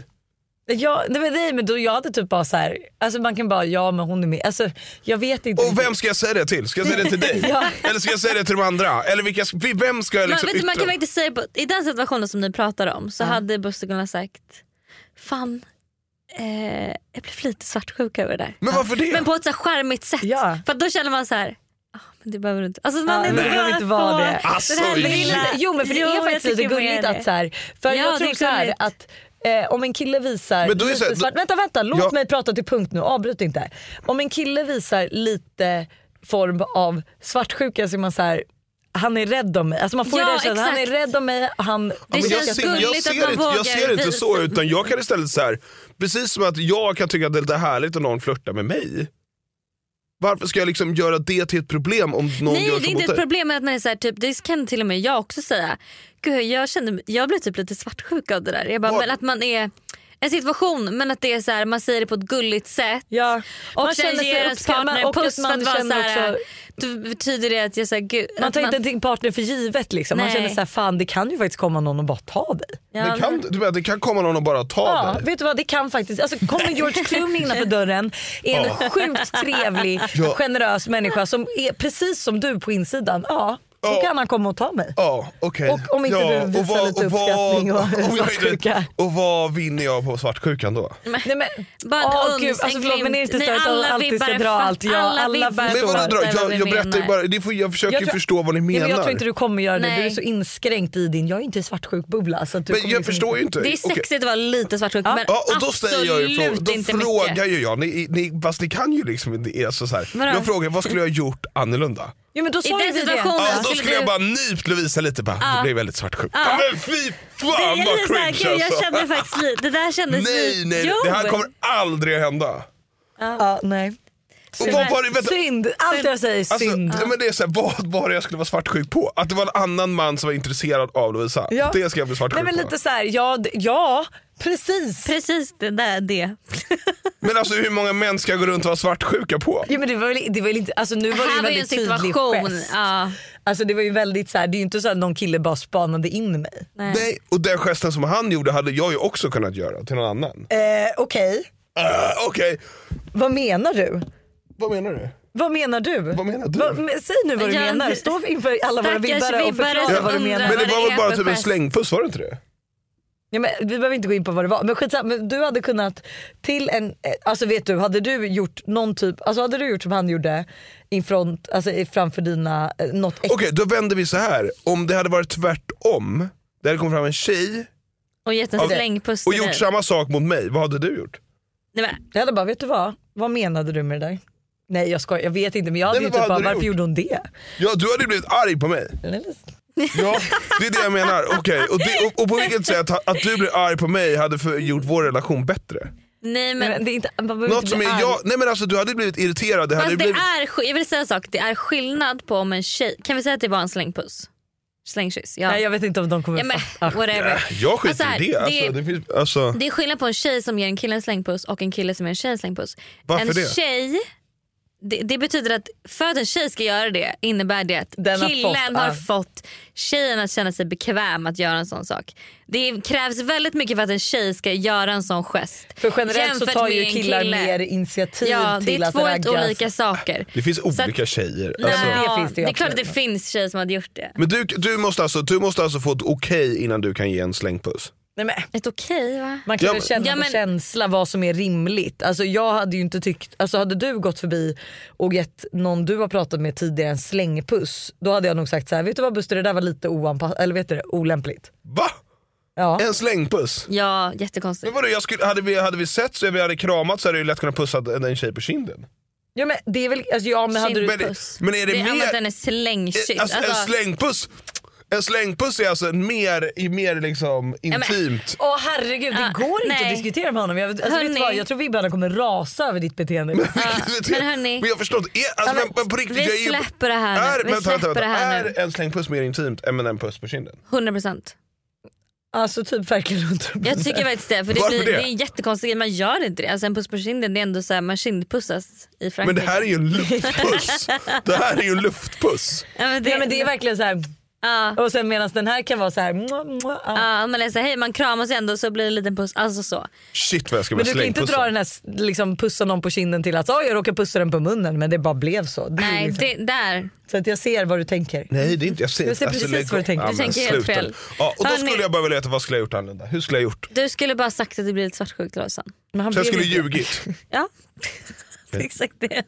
Speaker 3: Ja, nej, men- nej men då jag hade typ bara så här, alltså man kan bara ja men hon är med. Alltså jag vet inte.
Speaker 2: Och vem ska jag säga det till? Ska jag säga det till dig?
Speaker 3: Ja.
Speaker 2: Eller ska jag säga det till de andra? Eller vilka, vem ska jag
Speaker 1: Man,
Speaker 2: liksom
Speaker 1: vet du, man
Speaker 2: yttra?
Speaker 1: kan verkligen säga på, I den situationen som ni pratar om så hade Buster kunnat sagt Fan, eh, jag blev lite svartsjuk över det där.
Speaker 2: Men varför det?
Speaker 1: Men på ett så här charmigt sätt. För att då känner man så här "Ah, men det behöver du inte. Alltså man
Speaker 3: Ja,
Speaker 1: är
Speaker 3: det
Speaker 1: bara
Speaker 3: behöver inte vara
Speaker 1: på
Speaker 3: det.
Speaker 2: Alltså,
Speaker 1: den här
Speaker 2: det är
Speaker 1: lilla-
Speaker 2: lite-
Speaker 3: Jo men för det
Speaker 1: Jo,
Speaker 3: är
Speaker 1: jag
Speaker 3: faktiskt lite
Speaker 1: tycker mer
Speaker 3: gulligt
Speaker 1: det.
Speaker 3: att så här, för
Speaker 1: Ja,
Speaker 3: jag
Speaker 1: det
Speaker 3: tror
Speaker 1: är
Speaker 3: så här
Speaker 1: gulligt.
Speaker 3: att eh, om en kille visar
Speaker 2: Men då är det
Speaker 3: lite
Speaker 2: så här, då-
Speaker 3: svart, vänta vänta låt
Speaker 2: Ja.
Speaker 3: mig prata till punkt nu, avbryt inte. Om en kille visar lite form av svartsjuka så är man så här han är rädd om mig. Alltså man får
Speaker 1: Ja,
Speaker 3: ju den känslan, han är
Speaker 1: exakt.
Speaker 3: rädd om mig. Han,
Speaker 2: Ja, men jag, ser, jag, ser inte, jag ser inte så utan jag kan istället så här, precis som att jag kan tycka att det är lite härligt om någon flörtar med mig. Varför ska jag liksom göra det till ett problem om någon
Speaker 1: Nej
Speaker 2: gör
Speaker 1: det
Speaker 2: så
Speaker 1: är
Speaker 2: mot
Speaker 1: inte ett
Speaker 2: dig?
Speaker 1: problem med att man är så här, typ, det kan till och med jag också säga. Gud, jag, kände, jag blev typ lite svartsjuk av det där. Jag bara, men att man är en situation men att det är så här, man säger det på ett gulligt sätt och
Speaker 3: Man
Speaker 1: sen
Speaker 3: känner sig
Speaker 1: ger ens
Speaker 3: uppskattad
Speaker 1: partner en
Speaker 3: och att
Speaker 1: puss för
Speaker 3: man
Speaker 1: att vara så
Speaker 3: känner
Speaker 1: här,
Speaker 3: också-
Speaker 1: då betyder det att jag säger gud.
Speaker 3: Man
Speaker 1: att
Speaker 3: tar inte din partner för givet liksom. Man
Speaker 1: Nej.
Speaker 3: känner så här, fan det kan ju faktiskt komma någon och bara ta dig.
Speaker 2: Det kan, du menar, det kan komma någon och bara ta
Speaker 3: Ja,
Speaker 2: dig?
Speaker 3: vet du vad det kan faktiskt, alltså kommer George Clooney innanför dörren, är en
Speaker 2: Ja.
Speaker 3: sjukt trevlig,
Speaker 2: Ja.
Speaker 3: generös människa som är precis som du på insidan, ja då
Speaker 2: Ja.
Speaker 3: kan han komma och ta mig.
Speaker 2: Ja, okej.
Speaker 3: Och om inte du visar lite uppskattning och
Speaker 2: om jag inte-
Speaker 3: svartsjuka.
Speaker 2: Och vad vinner jag på svartsjukan då?
Speaker 3: Nej, men,
Speaker 1: Bara
Speaker 3: Åh,
Speaker 1: en uns,
Speaker 3: gud, alltså,
Speaker 1: en
Speaker 3: förlåt, men är det
Speaker 1: glimt.
Speaker 3: inte så
Speaker 1: Nej,
Speaker 3: att de
Speaker 1: alla
Speaker 3: alltid ska
Speaker 1: vibbar
Speaker 3: dra
Speaker 1: fatt-
Speaker 3: allt? Ja,
Speaker 1: alla
Speaker 3: alla
Speaker 1: vibbar
Speaker 2: Men vadå, dra?
Speaker 1: fattar vad
Speaker 2: Jag,
Speaker 1: vi
Speaker 2: jag berättar ju
Speaker 1: menar.
Speaker 2: bara, det får, jag försöker
Speaker 3: Jag
Speaker 2: ju
Speaker 3: tror-
Speaker 2: förstå vad ni
Speaker 3: Nej,
Speaker 2: menar.
Speaker 3: men jag tror inte du kommer göra det, du är
Speaker 1: Nej.
Speaker 3: så inskränkt i din, jag är inte svartsjuk-bubbla. Så att du
Speaker 2: Men
Speaker 3: kommer liksom
Speaker 2: jag förstår ju inte.
Speaker 1: Det är
Speaker 2: Okej.
Speaker 1: sexigt att vara lite svartsjuk men
Speaker 2: Ja, och då ställer jag ju frågan,
Speaker 1: absolut
Speaker 2: då
Speaker 1: inte
Speaker 2: frågar
Speaker 1: mycket.
Speaker 2: ju jag, ni, ni, fast ni kan ju liksom inte, alltså så här.
Speaker 1: Vadå?
Speaker 2: jag frågar vad skulle jag ha gjort annorlunda?
Speaker 3: Jo, men då
Speaker 1: I
Speaker 3: sa ju
Speaker 1: den
Speaker 3: vi det.
Speaker 1: situationen
Speaker 2: Ja, då
Speaker 1: skulle
Speaker 2: skulle
Speaker 1: du-
Speaker 2: jag bara nypt Lovisa lite bara,
Speaker 1: Ja.
Speaker 2: jag blev väldigt svartsjuk.
Speaker 1: Ja.
Speaker 2: Ja. Men fy
Speaker 1: Det är
Speaker 2: fan vad
Speaker 1: lite så här,
Speaker 2: cringe
Speaker 1: gud, jag kände
Speaker 2: alltså.
Speaker 1: faktiskt lite, det där kändes
Speaker 2: Nej
Speaker 1: lite-
Speaker 2: nej,
Speaker 1: Jo.
Speaker 2: det här kommer aldrig att hända.
Speaker 3: Ja, nej.
Speaker 2: Och vad var det- vänta.
Speaker 3: Synd, allt jag säger är
Speaker 2: Alltså,
Speaker 3: synd.
Speaker 2: ja. men det är så här, vad var det jag skulle vara svartsjuk på? Att det var en annan man som var intresserad av Lovisa.
Speaker 3: Ja.
Speaker 2: Det ska jag bli svartsjuk
Speaker 3: Nej, men
Speaker 2: på.
Speaker 3: lite så här, ja, d- ja precis.
Speaker 1: Precis det där det.
Speaker 2: Men alltså hur många män ska jag gå runt och vara svartsjuka på?
Speaker 3: Ja, men det var väl, det var väl inte, alltså nu var det
Speaker 1: Här
Speaker 3: ju en
Speaker 1: var ju en
Speaker 3: väldigt tydlig
Speaker 1: situation.
Speaker 3: gest.
Speaker 1: Ja.
Speaker 3: Alltså det var ju väldigt så här, det är ju inte så att någon kille bara spanade in mig.
Speaker 1: Nej.
Speaker 2: Nej, och den gesten som han gjorde hade jag ju också kunnat göra till någon annan.
Speaker 3: Eh, Okej,
Speaker 2: Ah, Okej,
Speaker 3: vad menar du?
Speaker 2: vad menar du?
Speaker 3: Vad menar du? Vad
Speaker 2: menar du?
Speaker 3: men, säg nu vad du
Speaker 1: Ja,
Speaker 3: menar,
Speaker 1: det-
Speaker 3: stå inför alla våra
Speaker 1: Stackars
Speaker 3: vibbare och
Speaker 1: vibbare
Speaker 3: förklara
Speaker 1: som
Speaker 3: vad du
Speaker 1: undrar
Speaker 3: menar.
Speaker 2: Men det
Speaker 1: vad
Speaker 2: var
Speaker 1: är
Speaker 2: väl bara
Speaker 1: för
Speaker 2: typ en
Speaker 1: gest?
Speaker 2: slängpuss, var det inte det?
Speaker 3: Ja, men, vi behöver inte gå in på vad det var, men skitsamma, men du hade kunnat till en, eh, alltså vet du, hade du gjort någon typ, alltså hade du gjort som han gjorde in front, alltså i- framför dina, eh, något ex-
Speaker 2: Okej, då vänder vi så här. Om det hade varit tvärtom, det hade kommit fram en tjej
Speaker 1: Och gett en
Speaker 2: Ja.
Speaker 1: slängpuss
Speaker 2: och
Speaker 1: till
Speaker 2: gjort
Speaker 1: dig.
Speaker 2: samma sak mot mig, vad hade du gjort?
Speaker 1: Nej, men,
Speaker 3: Jag hade bara, vet du vad? Vad menade du med det där? Nej jag skojar, jag vet inte men jag hade
Speaker 2: Nej, men
Speaker 3: ju typ
Speaker 2: vad
Speaker 3: bara,
Speaker 2: hade du
Speaker 3: varför
Speaker 2: gjort?
Speaker 3: gjorde hon det?
Speaker 2: Ja, du hade ju blivit arg på mig.
Speaker 3: Den är lite-
Speaker 2: Ja, det är det jag menar. Okej, och, det- och, och på vilket sätt ha- att du blev arg på mig hade för, gjort vår relation bättre?
Speaker 1: nej,
Speaker 3: Nej,
Speaker 1: men,
Speaker 3: men det är inte, man behöver
Speaker 2: Något
Speaker 3: inte
Speaker 2: som är
Speaker 3: bli arg.
Speaker 2: jag, nej men alltså du hade blivit irriterad. Det hade
Speaker 1: Fast det
Speaker 2: blivit,
Speaker 1: är, sk- jag vill säga en sak, det är skillnad på om en tjej, kan vi säga att det var en slängpuss? Slängkyss? Ja.
Speaker 3: Nej, jag vet inte om de kommer
Speaker 1: ja, men,
Speaker 3: fatta.
Speaker 1: whatever.
Speaker 2: jag skiter
Speaker 1: Alltså här,
Speaker 2: i det. Alltså,
Speaker 1: det-
Speaker 2: det, finns, alltså,
Speaker 1: Det är skillnad på en tjej som ger en kille en slängpuss och en kille som ger en tjej en slängpuss.
Speaker 2: Varför
Speaker 1: en
Speaker 2: det?
Speaker 1: tjej det, det betyder att för att en tjej ska göra det innebär det att
Speaker 3: Den har
Speaker 1: killen
Speaker 3: fått,
Speaker 1: har
Speaker 3: ja.
Speaker 1: fått tjejen att känna sig bekväm att göra en sån sak. Det krävs väldigt mycket för att en tjej ska göra en sån gest.
Speaker 3: För generellt så
Speaker 1: Jämfört
Speaker 3: tar
Speaker 1: med
Speaker 3: ju
Speaker 1: en
Speaker 3: killar
Speaker 1: kille.
Speaker 3: mer initiativ
Speaker 1: Ja, det
Speaker 3: till
Speaker 1: är
Speaker 3: att
Speaker 1: två helt
Speaker 3: ragga.
Speaker 1: olika saker.
Speaker 2: Det finns
Speaker 1: Så att-
Speaker 2: olika tjejer.
Speaker 1: Nej,
Speaker 2: alltså.
Speaker 1: det, är klart att det finns tjejer som hade gjort det.
Speaker 2: Men du, du, måste alltså, du måste alltså få ett okej innan du kan ge en slängpuss?
Speaker 3: Nej, men.
Speaker 1: Ett okej va?
Speaker 3: Man kan
Speaker 2: Ja,
Speaker 3: väl
Speaker 2: men-
Speaker 3: känna
Speaker 2: Ja,
Speaker 3: på
Speaker 2: men-
Speaker 3: känsla vad som är rimligt. Alltså jag hade ju inte tyckt, alltså hade du gått förbi och gett någon du har pratat med tidigare en slängpuss. Då hade jag nog sagt så här: vet du vad Buster det där var lite oanpassat, eller vet du det, olämpligt.
Speaker 2: Va?
Speaker 3: Ja.
Speaker 2: En slängpuss?
Speaker 1: Ja, jättekonstigt.
Speaker 2: Men vadå, jag skulle, hade, vi, hade vi sett så vi hade kramat så hade jag ju lätt kunnat pussa en, en tjej på kinden.
Speaker 3: Ja men det är väl, alltså ja men hade du...
Speaker 1: Kindpuss.
Speaker 2: men är det
Speaker 1: vi
Speaker 2: mer-
Speaker 1: använder den i slängkyss.
Speaker 2: Eh, Alltså, En slängpuss en slängpuss är alltså en mer, i mer liksom
Speaker 1: men-
Speaker 2: intimt.
Speaker 3: Åh herregud det
Speaker 1: Ja,
Speaker 3: går inte
Speaker 1: nej.
Speaker 3: att diskutera med honom. Jag, alltså, vet
Speaker 1: Hörni.
Speaker 3: du vad, jag tror vibbarna kommer rasa över ditt beteende.
Speaker 1: men hörni.
Speaker 2: Men jag förstår inte, är- alltså,
Speaker 1: Ja, men
Speaker 2: men, men på riktigt,
Speaker 1: vi
Speaker 2: jag är ju,
Speaker 1: släpper det här nu.
Speaker 2: är,
Speaker 1: Vi
Speaker 2: vänta, vänta,
Speaker 1: släpper
Speaker 2: vänta,
Speaker 1: det här nu.
Speaker 2: är en slängpuss mer intimt än en puss på kinden?
Speaker 1: 100 procent.
Speaker 3: Alltså typ verkligen 100%.
Speaker 1: Jag tycker faktiskt det. För det,
Speaker 2: Varför
Speaker 1: blir,
Speaker 2: det?
Speaker 1: det? är en jättekonstig grej, man gör inte det. Alltså en puss på kinden, det är ändå så här, man kindpussas i Frankrike.
Speaker 2: Men det här är ju en luftpuss. det här är ju en luftpuss.
Speaker 1: Ja, men det,
Speaker 3: Nej men det är verkligen så här. Och sen medan den här kan vara så här. Mua, mua, ah.
Speaker 1: Ja, man läser hej man kramas ändå och så blir det en liten puss. Alltså så.
Speaker 2: Shit vad jag ska
Speaker 3: Men
Speaker 2: bli
Speaker 3: du kan inte dra
Speaker 2: slängpussad.
Speaker 3: den här s- liksom, pussa någon på kinden till att "Oj, jag råkar pussa den på munnen men det bara blev så. Det är
Speaker 1: Nej,
Speaker 3: liksom,
Speaker 1: det, där.
Speaker 3: Så att jag ser vad du tänker.
Speaker 2: Nej det är inte, jag ser
Speaker 3: Jag ser
Speaker 2: alltså,
Speaker 3: precis
Speaker 2: lägg
Speaker 3: vad du
Speaker 2: av.
Speaker 3: tänker.
Speaker 2: Ja,
Speaker 3: Du
Speaker 2: men
Speaker 1: tänker helt
Speaker 2: sluta nu.
Speaker 1: fel.
Speaker 2: Ja, och då
Speaker 1: Hörni.
Speaker 2: skulle jag bara vilja veta vad skulle jag gjort annorlunda? Hur skulle jag gjort?
Speaker 1: Du skulle bara sagt att du blev lite svartsjuk till Lojsan.
Speaker 2: Så jag skulle ljugit.
Speaker 1: Ja, det är exakt det.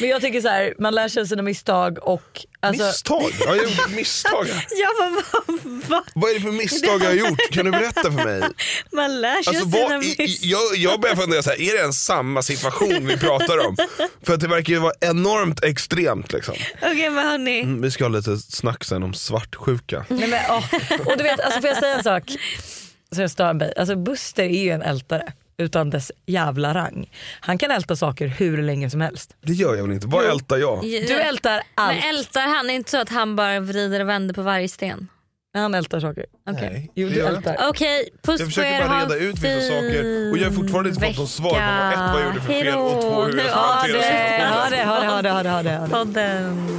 Speaker 3: Men jag tycker så här, man lär sig av sina misstag och... Alltså,
Speaker 2: Misstag? Ja, jag har gjort misstag.
Speaker 1: Jag bara, vad, vad?
Speaker 2: Vad är det för misstag jag har gjort? Kan du berätta för mig?
Speaker 1: Man lär sig
Speaker 2: Alltså,
Speaker 1: av
Speaker 2: vad,
Speaker 1: sina
Speaker 2: i, i-
Speaker 1: misstag.
Speaker 2: jag, jag börjar fundera, så här, är det ens samma situation vi pratar om? För att det verkar ju vara enormt extremt. Liksom.
Speaker 1: Okej men hörni.
Speaker 2: Mm, vi ska ha lite snack sen om svartsjuka.
Speaker 3: Nej, men, ja. Och du vet, alltså, får jag säga en sak? Så jag stör mig. Alltså, Buster är ju en ältare utan dess jävla rang. Han kan älta saker hur länge som helst.
Speaker 2: Det gör jag väl inte? Vad ältar jag?
Speaker 3: Du ältar allt.
Speaker 1: Men ältar han? Är inte så att han bara vrider och vänder på varje sten?
Speaker 3: Han ältar saker.
Speaker 1: Okej.
Speaker 3: Jo,
Speaker 2: det
Speaker 3: du
Speaker 2: gör jag
Speaker 3: ältar.
Speaker 1: Okej, puss
Speaker 2: Jag
Speaker 1: på er.
Speaker 2: försöker bara
Speaker 1: Ha
Speaker 2: reda
Speaker 1: en
Speaker 2: ut vissa saker och jag har fortfarande inte fått något svar på vad, ett, vad jag gjorde för fel
Speaker 1: Hejdå.
Speaker 2: och två, hur jag
Speaker 1: Nu-
Speaker 2: ska
Speaker 1: ja,
Speaker 2: hantera
Speaker 1: det-
Speaker 2: situationen.
Speaker 3: Ha det, ha det, ha det, ha det, ha det. Ha det.
Speaker 1: Podden.